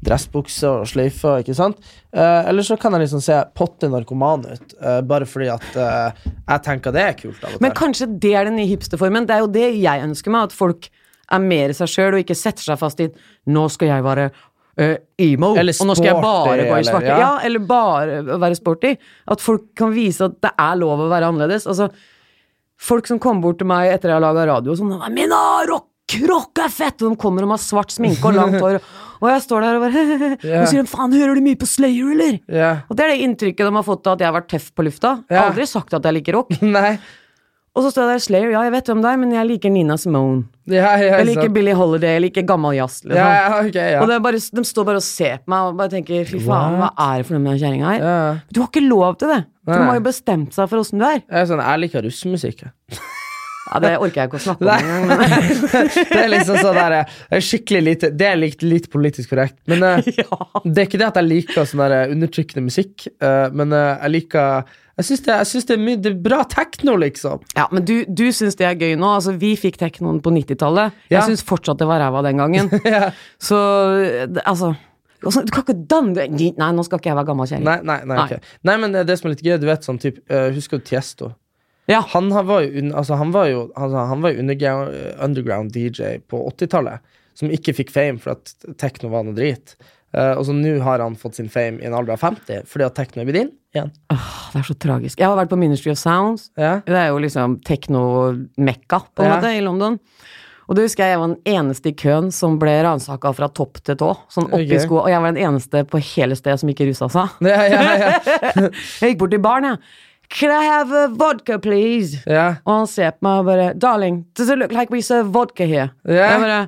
dressbukse og sløyfe, ikke sant? Eh, eller så kan jeg liksom se potte narkoman ut, eh, bare fordi at eh, jeg tenker det er kult av og Men til. kanskje det er den nye hipsterformen? Det er jo det jeg ønsker meg, at folk er mer seg sjøl og ikke setter seg fast i 'nå skal jeg være eh, emo', Eller og 'nå skal jeg bare sporty, gå i eller- svarte'. ja. Ja. eller bare være sporty. At folk kan vise at det er lov å være annerledes. Altså, folk som kommer bort til meg etter jeg har laga radio, sånn 'Men ah, rock, rock er fett!' Og de kommer og har svart sminke og langt hår, og jeg står der og bare Ja. Og sier 'faen, hører du mye på Slayer, eller?' Ja. Og det er det inntrykket de har fått av at jeg har vært tøff på lufta. Jeg Ja. har aldri sagt at jeg liker rock. Nei. Og så står jeg der Slayer, ja, jeg vet hvem det er, men jeg liker Nina Simone. Ja, ja, Jeg liker sant. Billie Holiday, jeg liker gammel jazz. Liksom. ja, ja, ok, ja. Og det er bare, de står bare og ser på meg og bare tenker fy faen, hva What? er det for noe med den kjerringa her? ja. ja. Du har ikke lov til det! For Nei. de har jo bestemt seg for åssen du er. Jeg er sånn, jeg liker russemusikk. jeg. Ja, Det orker jeg ikke å snakke om Nei. engang. men- det er liksom sånn der, det er skikkelig lite Det er litt, litt politisk korrekt. Men eh, Ja. det er ikke det at jeg liker sånn der eh, undertrykkende musikk, eh, men eh, jeg liker Jeg syns det, jeg synes det, er mye- det er bra tekno, liksom. ja, Men du, du syns det er gøy nå. Altså, Vi fikk teknoen på 90-tallet. Ja. Jeg syns fortsatt det var ræva den gangen. Ja. Så det- altså altså, Du kan ikke danne Nei, nå skal ikke jeg være gammel kjerring. Nei, nei, nei, ok. nei, men eh, det som er litt gøy, du vet sånn typ, eh, Husker du Tiesto? Ja. Han har- var jo, un- altså, han var jo, altså, han var jo underground, eh, underground DJ på 80-tallet, som ikke fikk fame for at tekno var noe drit. Eh, og så nå har han fått sin fame i en alder av 50 fordi at tekno er blitt inn igjen. Åh, Det er så tragisk. Jeg har vært på Ministry of Sounds. Ja. Det er jo liksom tekno-mekka, på en Ja. måte, i London. Og det husker jeg, jeg var den eneste i køen som ble ransaka fra topp til tå. Sånn oppi Ok. sko. Og jeg var den eneste på hele stedet som ikke rusa seg. Ja, ja, ja. Jeg gikk bort til baren, jeg. Can I have a vodka, please? ja. Og han ser på meg og bare Darling, does it look like we serve vodka here? Ja. Jeg bare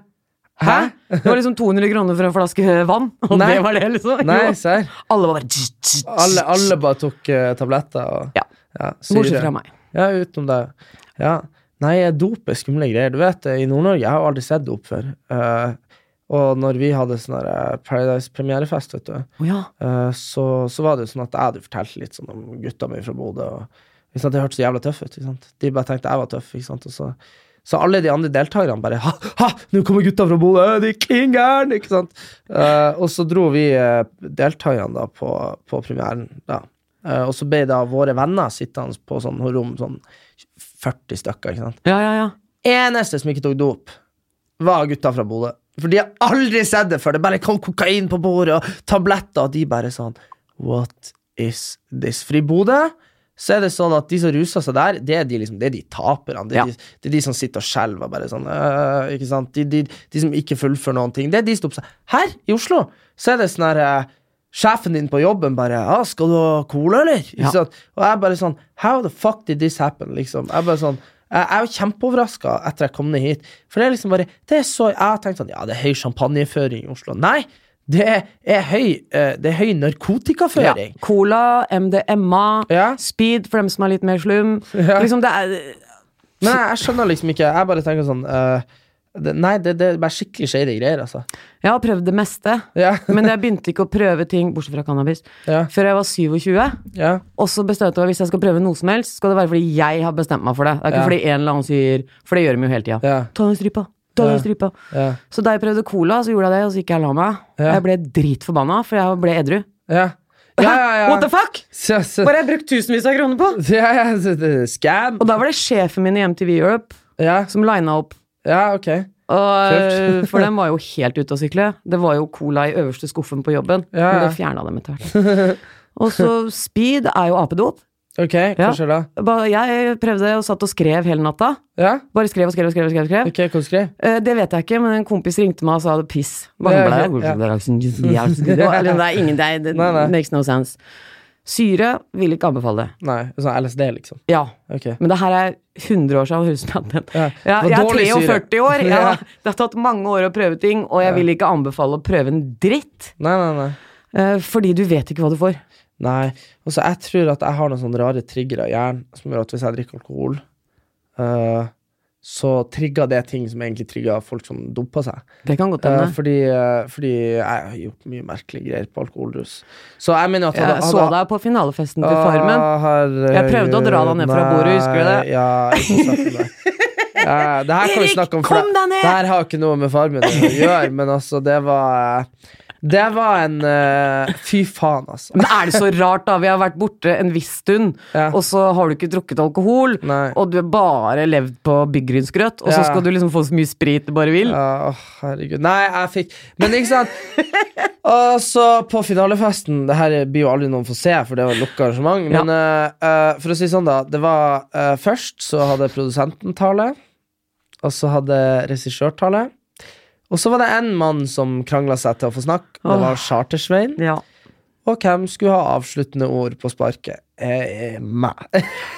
Hæ? Det var liksom 200 kroner for en flaske vann, og Nei. det var det, liksom. Nei, Jo. serr. Alle var bare tss, tss, tss. Alle, alle bare tok eh, tabletter. Og, Ja. syre. Bortsett fra meg. Ja, utenom deg. Ja. Nei, dop er skumle greier. Du vet, I Nord-Norge jeg har jo aldri sett dop før. Eh, og når vi hadde sånn der, eh, Paradise-premierefest, vet du, Å ja. eh, så, så var det jo sånn at jeg hadde fortalt litt sånn om gutta mi fra Bodø. Og, ikke sant, De hørtes så jævla tøffe ut. Ikke sant? De bare tenkte jeg var tøff. Ikke sant? Og så, så alle de andre deltakerne bare Ha, ha, nå kommer gutta fra Bodø! De er kingeren! Ikke sant? Eh, og så dro vi eh, deltakerne da på, på premieren. Da. Eh, og så ble da våre venner sittende på sånn rom, sånn 40 stykker. ikke sant? Ja, ja, ja. eneste som ikke tok dop, var gutta fra Bodø. For de har aldri sett det før. Det bare kom kokain på bordet og tabletter, og de bare sånn What is this? For i Bodø så er det sånn at de som ruser seg der, det er de, liksom, det er de taperne. Det er, Ja. de, det er de som sitter og skjelver bare sånn «Øh», ikke sant? De, de, de som ikke fullfører noen ting. Det er de som oppsett. Her i Oslo så er det sånn her eh, Sjefen din på jobben bare ja, 'Skal du ha cola, eller?' Ikke Ja. sant? Og jeg bare sånn How the fuck did this happen? Liksom. Jeg bare sånn jeg jeg er jo kjempeoverraska etter jeg kom ned hit. For det er liksom bare det er så, Jeg har tenkt sånn Ja, det er høy champagneføring i Oslo. Nei! Det er høy, eh, det er høy narkotikaføring. Ja. Cola, MDMA, Ja. speed for dem som er litt mer slum. Ja. Liksom det er Men jeg, jeg skjønner liksom ikke. Jeg bare tenker sånn eh, det, Nei, det, det er bare skikkelig shady greier, altså. Jeg har prøvd det meste, Ja. men jeg begynte ikke å prøve ting bortsett fra cannabis Ja. før jeg var 27. Ja. Og så bestemte jeg at hvis jeg skal prøve noe som helst, skal det være fordi jeg har bestemt meg for det. Det er ikke Ja. fordi en eller annen sier For det gjør de jo hele tida. Ja. Ta den strypa. Ta Ja. den strypa. Ja. Så da jeg prøvde cola, så gjorde jeg det, og så gikk jeg og la meg. Ja. Jeg ble dritforbanna, for jeg ble edru. Ja, ja, ja. ja. What the fuck?! Så, så, Hva har jeg brukt tusenvis av kroner på? ja, ja, så, det, scam. Og da var det sjefen min i MTV Europe Ja, som lina opp ja, ok. Og, Tøft. for den var jo helt ute å sykle. Det var jo cola i øverste skuffen på jobben. Ja, ja. Men det fjerna dem etter hvert. Og så speed er jo apedop. Ok, hva Ja. skjer da? Ba- Jeg prøvde og satt og skrev hele natta. Ja? Bare skrev og skrev og skrev. og skrev, og skrev. Ok, hva skrev? Eh, Det vet jeg ikke, men en kompis ringte meg og sa piss. Ja, Bare ja, sånn, ja. "Blæ, blæ, blæ, blæ." Det var- eller det er ingen det, er- det Nei, nei. makes no sense. Syre vil ikke anbefale det. Nei, sånn LSD, liksom. Ja. Ok. Men det her er 100 år siden. Husk meg den. Ja, Ja, det jeg var er dårlig syre. 43 år. Jeg, Ja. har- det har tatt mange år å prøve ting, og jeg vil ikke anbefale å prøve en dritt. Nei, nei, nei. eh, Fordi du vet ikke hva du får. Nei. Og så jeg tror at jeg har noen sånne rare triggere i hjernen som gjør at hvis jeg drikker alkohol, eh, så trigger det ting som egentlig trigger folk som doper seg. Det kan godt Eh, hende. fordi, eh, fordi jeg har gjort mye merkelige greier på alkoholrus. Så jeg mener jo at hadde- Jeg hadde- så deg på finalefesten til Ah. Farmen. Å, herregud. Jeg prøvde å dra deg ned fra bordet, husker du det? Nei, Ja, ikke snakk om det. Ja, det her kan vi Erik, snakke om, for kom deg ned! det her har ikke noe med farmen å gjøre, men altså, det var Det var en eh, Fy faen, altså. Men er det så rart, da? Vi har vært borte en viss stund, Ja. og så har du ikke drukket alkohol, Nei. og du har bare levd på byggrynsgrøt, og Ja. så skal du liksom få så mye sprit du bare vil. Ja, åh, herregud. Nei, jeg fikk Men ikke sant? Og så på finalefesten Det her blir jo aldri noen får se, for det var et lukka arrangement. Ja. Men eh, eh, for å si sånn, da. Det var eh, Først så hadde produsenten tale, og så hadde regissør tale. Og så var det en mann som krangla seg til å få snakke. Det Åh. var Chartersvein. Ja. Og hvem skulle ha avsluttende ord på sparket? Eh, eh, meg.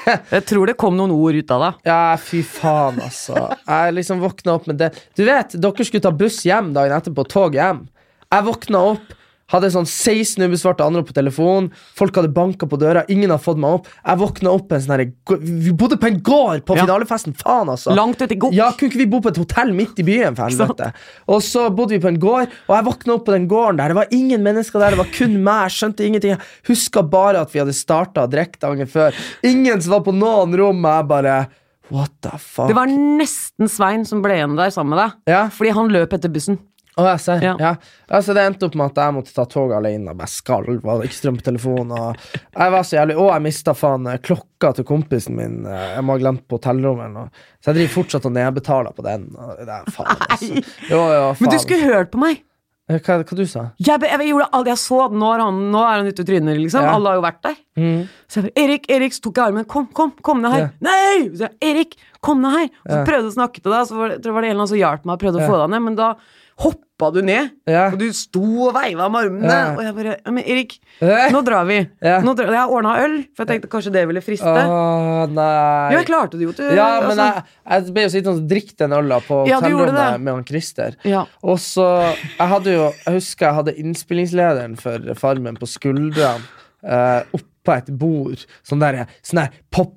Jeg tror det kom noen ord ut av deg. Ja, fy faen, altså. Jeg liksom våkna opp med det. Du vet, dere skulle ta buss hjem dagen etterpå, tog hjem. Jeg våkna opp, hadde sånn 16 ubesvarte anrop på telefon. Folk hadde banka på døra, ingen hadde fått meg opp. Jeg våkna opp på en sånn herre gå- Vi bodde på en gård på Ja. finalefesten, faen, altså. Langt ute i Gokk. Ja, kunne ikke vi bo på et hotell midt i byen, for helvete? Og så bodde vi på en gård, og jeg våkna opp på den gården der. Det var ingen mennesker der, det var kun meg. Jeg skjønte ingenting. Jeg huska bare at vi hadde starta å drikke dagen før. Ingen som var på noen rom, og jeg bare What the fuck? Det var nesten Svein som ble igjen der sammen med deg. Ja. Fordi han løp etter bussen. Å, jeg ser. Ja. Ja. Altså, det endte opp med at jeg måtte ta toget alene. og Jeg skalv, hadde ikke strøm på telefonen. Og jeg var så jævlig Og jeg mista faen eh, klokka til kompisen min. eh, Jeg må ha glemt på hotellrommet. eller noe. Så jeg driver fortsatt og nedbetaler på den. og Det er faen, altså. Jo, jo, faen. Men du skulle hørt på meg! Eh, Hva, hva du sa Jeg, be- jeg gjorde alt jeg så. Nå er han, nå er han ute og tryner, liksom. Ja. Alle har jo vært der. Mhm. Så jeg bare Erik, Erik, så tok jeg armen. Kom, kom, kom ned her. Ja. Nei! Så jeg, Erik, kom ned her. Så Ja. prøvde jeg å snakke til deg, så var det, tror jeg var det en eller annen som hjalp meg og prøvde Ja. å få deg ned, men da hoppa du ned. Ja. Og du sto og veiva med armene, Ja. og jeg bare ja, Men Erik, Eh. nå drar vi. Ja. Nå drar, jeg ordna øl, for jeg tenkte kanskje det ville friste. Åh, Jo, Ah, nei jeg klarte det jo til Ja, men altså- jeg, jeg ble jo sittende og drikke den øla på Ja, du gjorde hotellrommet det. med han Christer. Ja. Og så Jeg hadde jo Jeg husker jeg hadde innspillingslederen for Farmen på skuldrene eh, oppå et bord. Sånn der, sånn der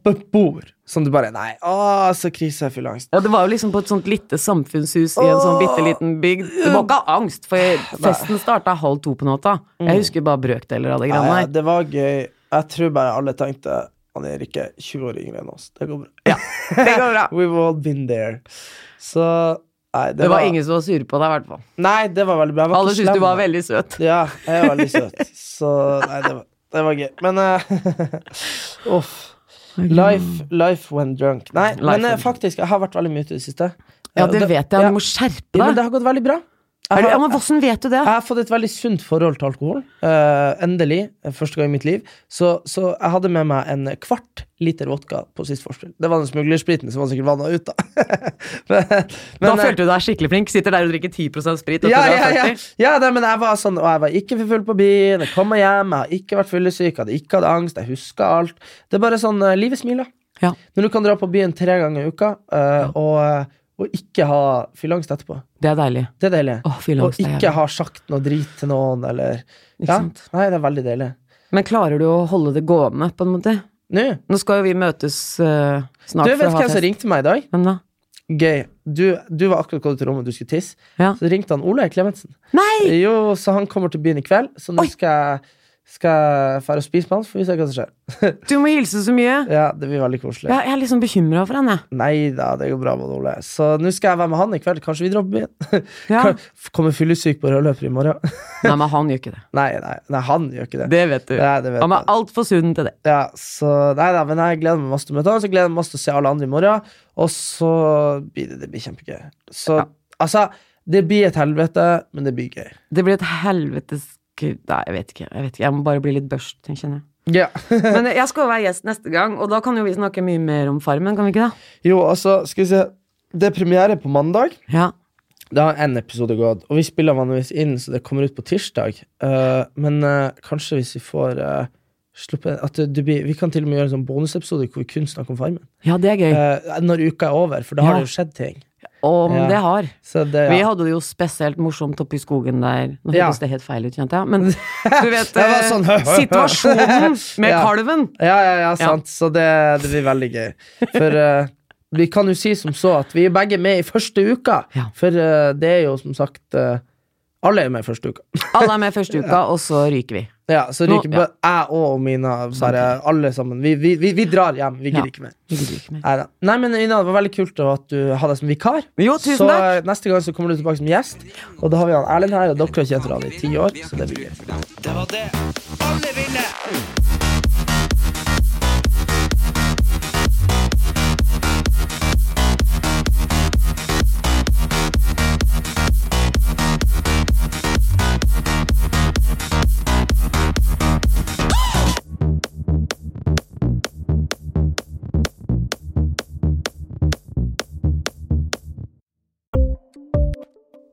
pop-up-bord. Som du bare Nei, å, så krise, jeg fyller angst. Ja, Det var jo liksom på et sånt lite samfunnshus i en sånn bitte liten bygd. Det var ikke av angst, for festen starta halv to på natta. Jeg husker bare brøkdeler av det Nei, greiene der. Mm. Eh, det var gøy. Jeg tror bare alle tenkte han er ikke 20 år yngre enn oss. Det går bra. Det går bra. We've all been there. Så Nei, Det det, var ingen som var sure på deg, i hvert fall. Nei, det var veldig bra. Jeg var Alle ikke syntes du slem. var veldig søt. Ja, jeg er veldig søt. Så nei, det var, det var gøy. Men eh, uff. Life, life when drunk. Nei, when men eh, drunk. faktisk, jeg har vært veldig mye ute i det siste. Ja, Eh, det vet jeg. ja. Du må Ja, skjerpe men det deg. har gått veldig bra. Jeg Er du, har, ja, men Åssen vet du det? jeg har fått et veldig sunt forhold til alkohol. Eh, endelig. eh, Første gang i mitt liv. Så, så jeg hadde med meg en kvart liter vodka på sist vorspiel. Det var den smuglerspriten som var sikkert vanna ut, da. men, Da men, eh, følte du deg skikkelig flink. Sitter der og drikker 10 sprit. Og ja, tror du ja, er ja. 40. ja nei, men jeg var sånn, og jeg var ikke for full på byen. Jeg kom meg hjem, jeg har ikke vært fyllesyk, jeg hadde ikke hatt angst, jeg huska alt. Det er bare sånn eh, Livet smiler. Ja. Når du kan dra på byen tre ganger i uka eh, og, eh, og ikke ha fylleangst etterpå. Det er deilig. Det er deilig. Å, fylleangst og er ikke jævlig. ha sagt noe drit til noen, eller Ikke ja. sant? Nei, det er veldig deilig. Men klarer du å holde det gående, på en måte? Nå, Nå skal jo vi møtes eh, du snart vet for å ha hvem som fest. ringte meg i dag? Hvem da? Gøy. Du, du var akkurat gått til rommet, du skulle tisse. Ja. Så ringte han Ole Klemetsen. Nei! Jo, så han kommer til byen i kveld, så nå Oi! skal jeg skal jeg fære og spise med han, så får vi se hva som skjer. Du må hilse så mye. Ja, det blir veldig koselig. Ja, jeg er liksom bekymra for han, jeg. Nei da, det går bra med Ole. Så nå skal jeg være med han i kveld. Kanskje vi drar på byen? Ja. Kan- Kommer fyllesyk på rødløper i morgen? Nei, men han gjør ikke det. Nei, nei, nei, han gjør ikke det. Det vet du. Nei, det vet Han jeg. er altfor sunn til det. Ja, så nei da, men jeg gleder meg masse til å møte han, så gleder jeg meg masse til å se alle andre i morgen, og så blir det, det blir kjempegøy. Så Altså, det blir et helvete, men det blir gøy. Det blir et helvetes gud, Nei, jeg vet ikke. Jeg vet ikke, jeg må bare bli litt børst, kjenner jeg. Ja. Men jeg skal jo være gjest neste gang, og da kan jo vi snakke mye mer om Farmen, kan vi ikke det? jo, altså, skal vi se. Det er premiere på mandag. Ja. Det har én episode gått, og vi spiller vanligvis inn, så det kommer ut på tirsdag. Eh, men eh, kanskje hvis vi får eh, sluppet at det, det blir, Vi kan til og med gjøre en sånn bonusepisode hvor vi kun snakker om Farmen. Ja, det er gøy. Eh, når uka er over, for da har Ja. det jo skjedd ting. Om ja. det har. Så det, Vi ja. hadde det jo spesielt morsomt oppe i skogen der. Nå Ja. høres det helt feil ut, kjente jeg, men du vet Det var eh, sånn, hø, hø, hø. Situasjonen med Ja. kalven! ja, ja, ja, sant. Så det, det blir veldig gøy. For eh, vi kan jo si som så at vi er begge med i første uka, Ja. for eh, det er jo som sagt eh, alle er jo med i første uka. Alle er med første uka, og så ryker vi. Ja, Så Nå- ryker bare jeg og Mina, bare alle sammen. Vi, vi, vi, vi drar hjem. Vi Ja. gidder ikke mer. Vi gidder ikke mer. Neida. Nei, men Ina, det var veldig kult at du hadde deg som vikar. Jo, tusen så takk. eh, neste gang så kommer du tilbake som gjest. Og da har vi han Erlend her, og dere har kjent hverandre i ti år. Så det blir gøy. gøy.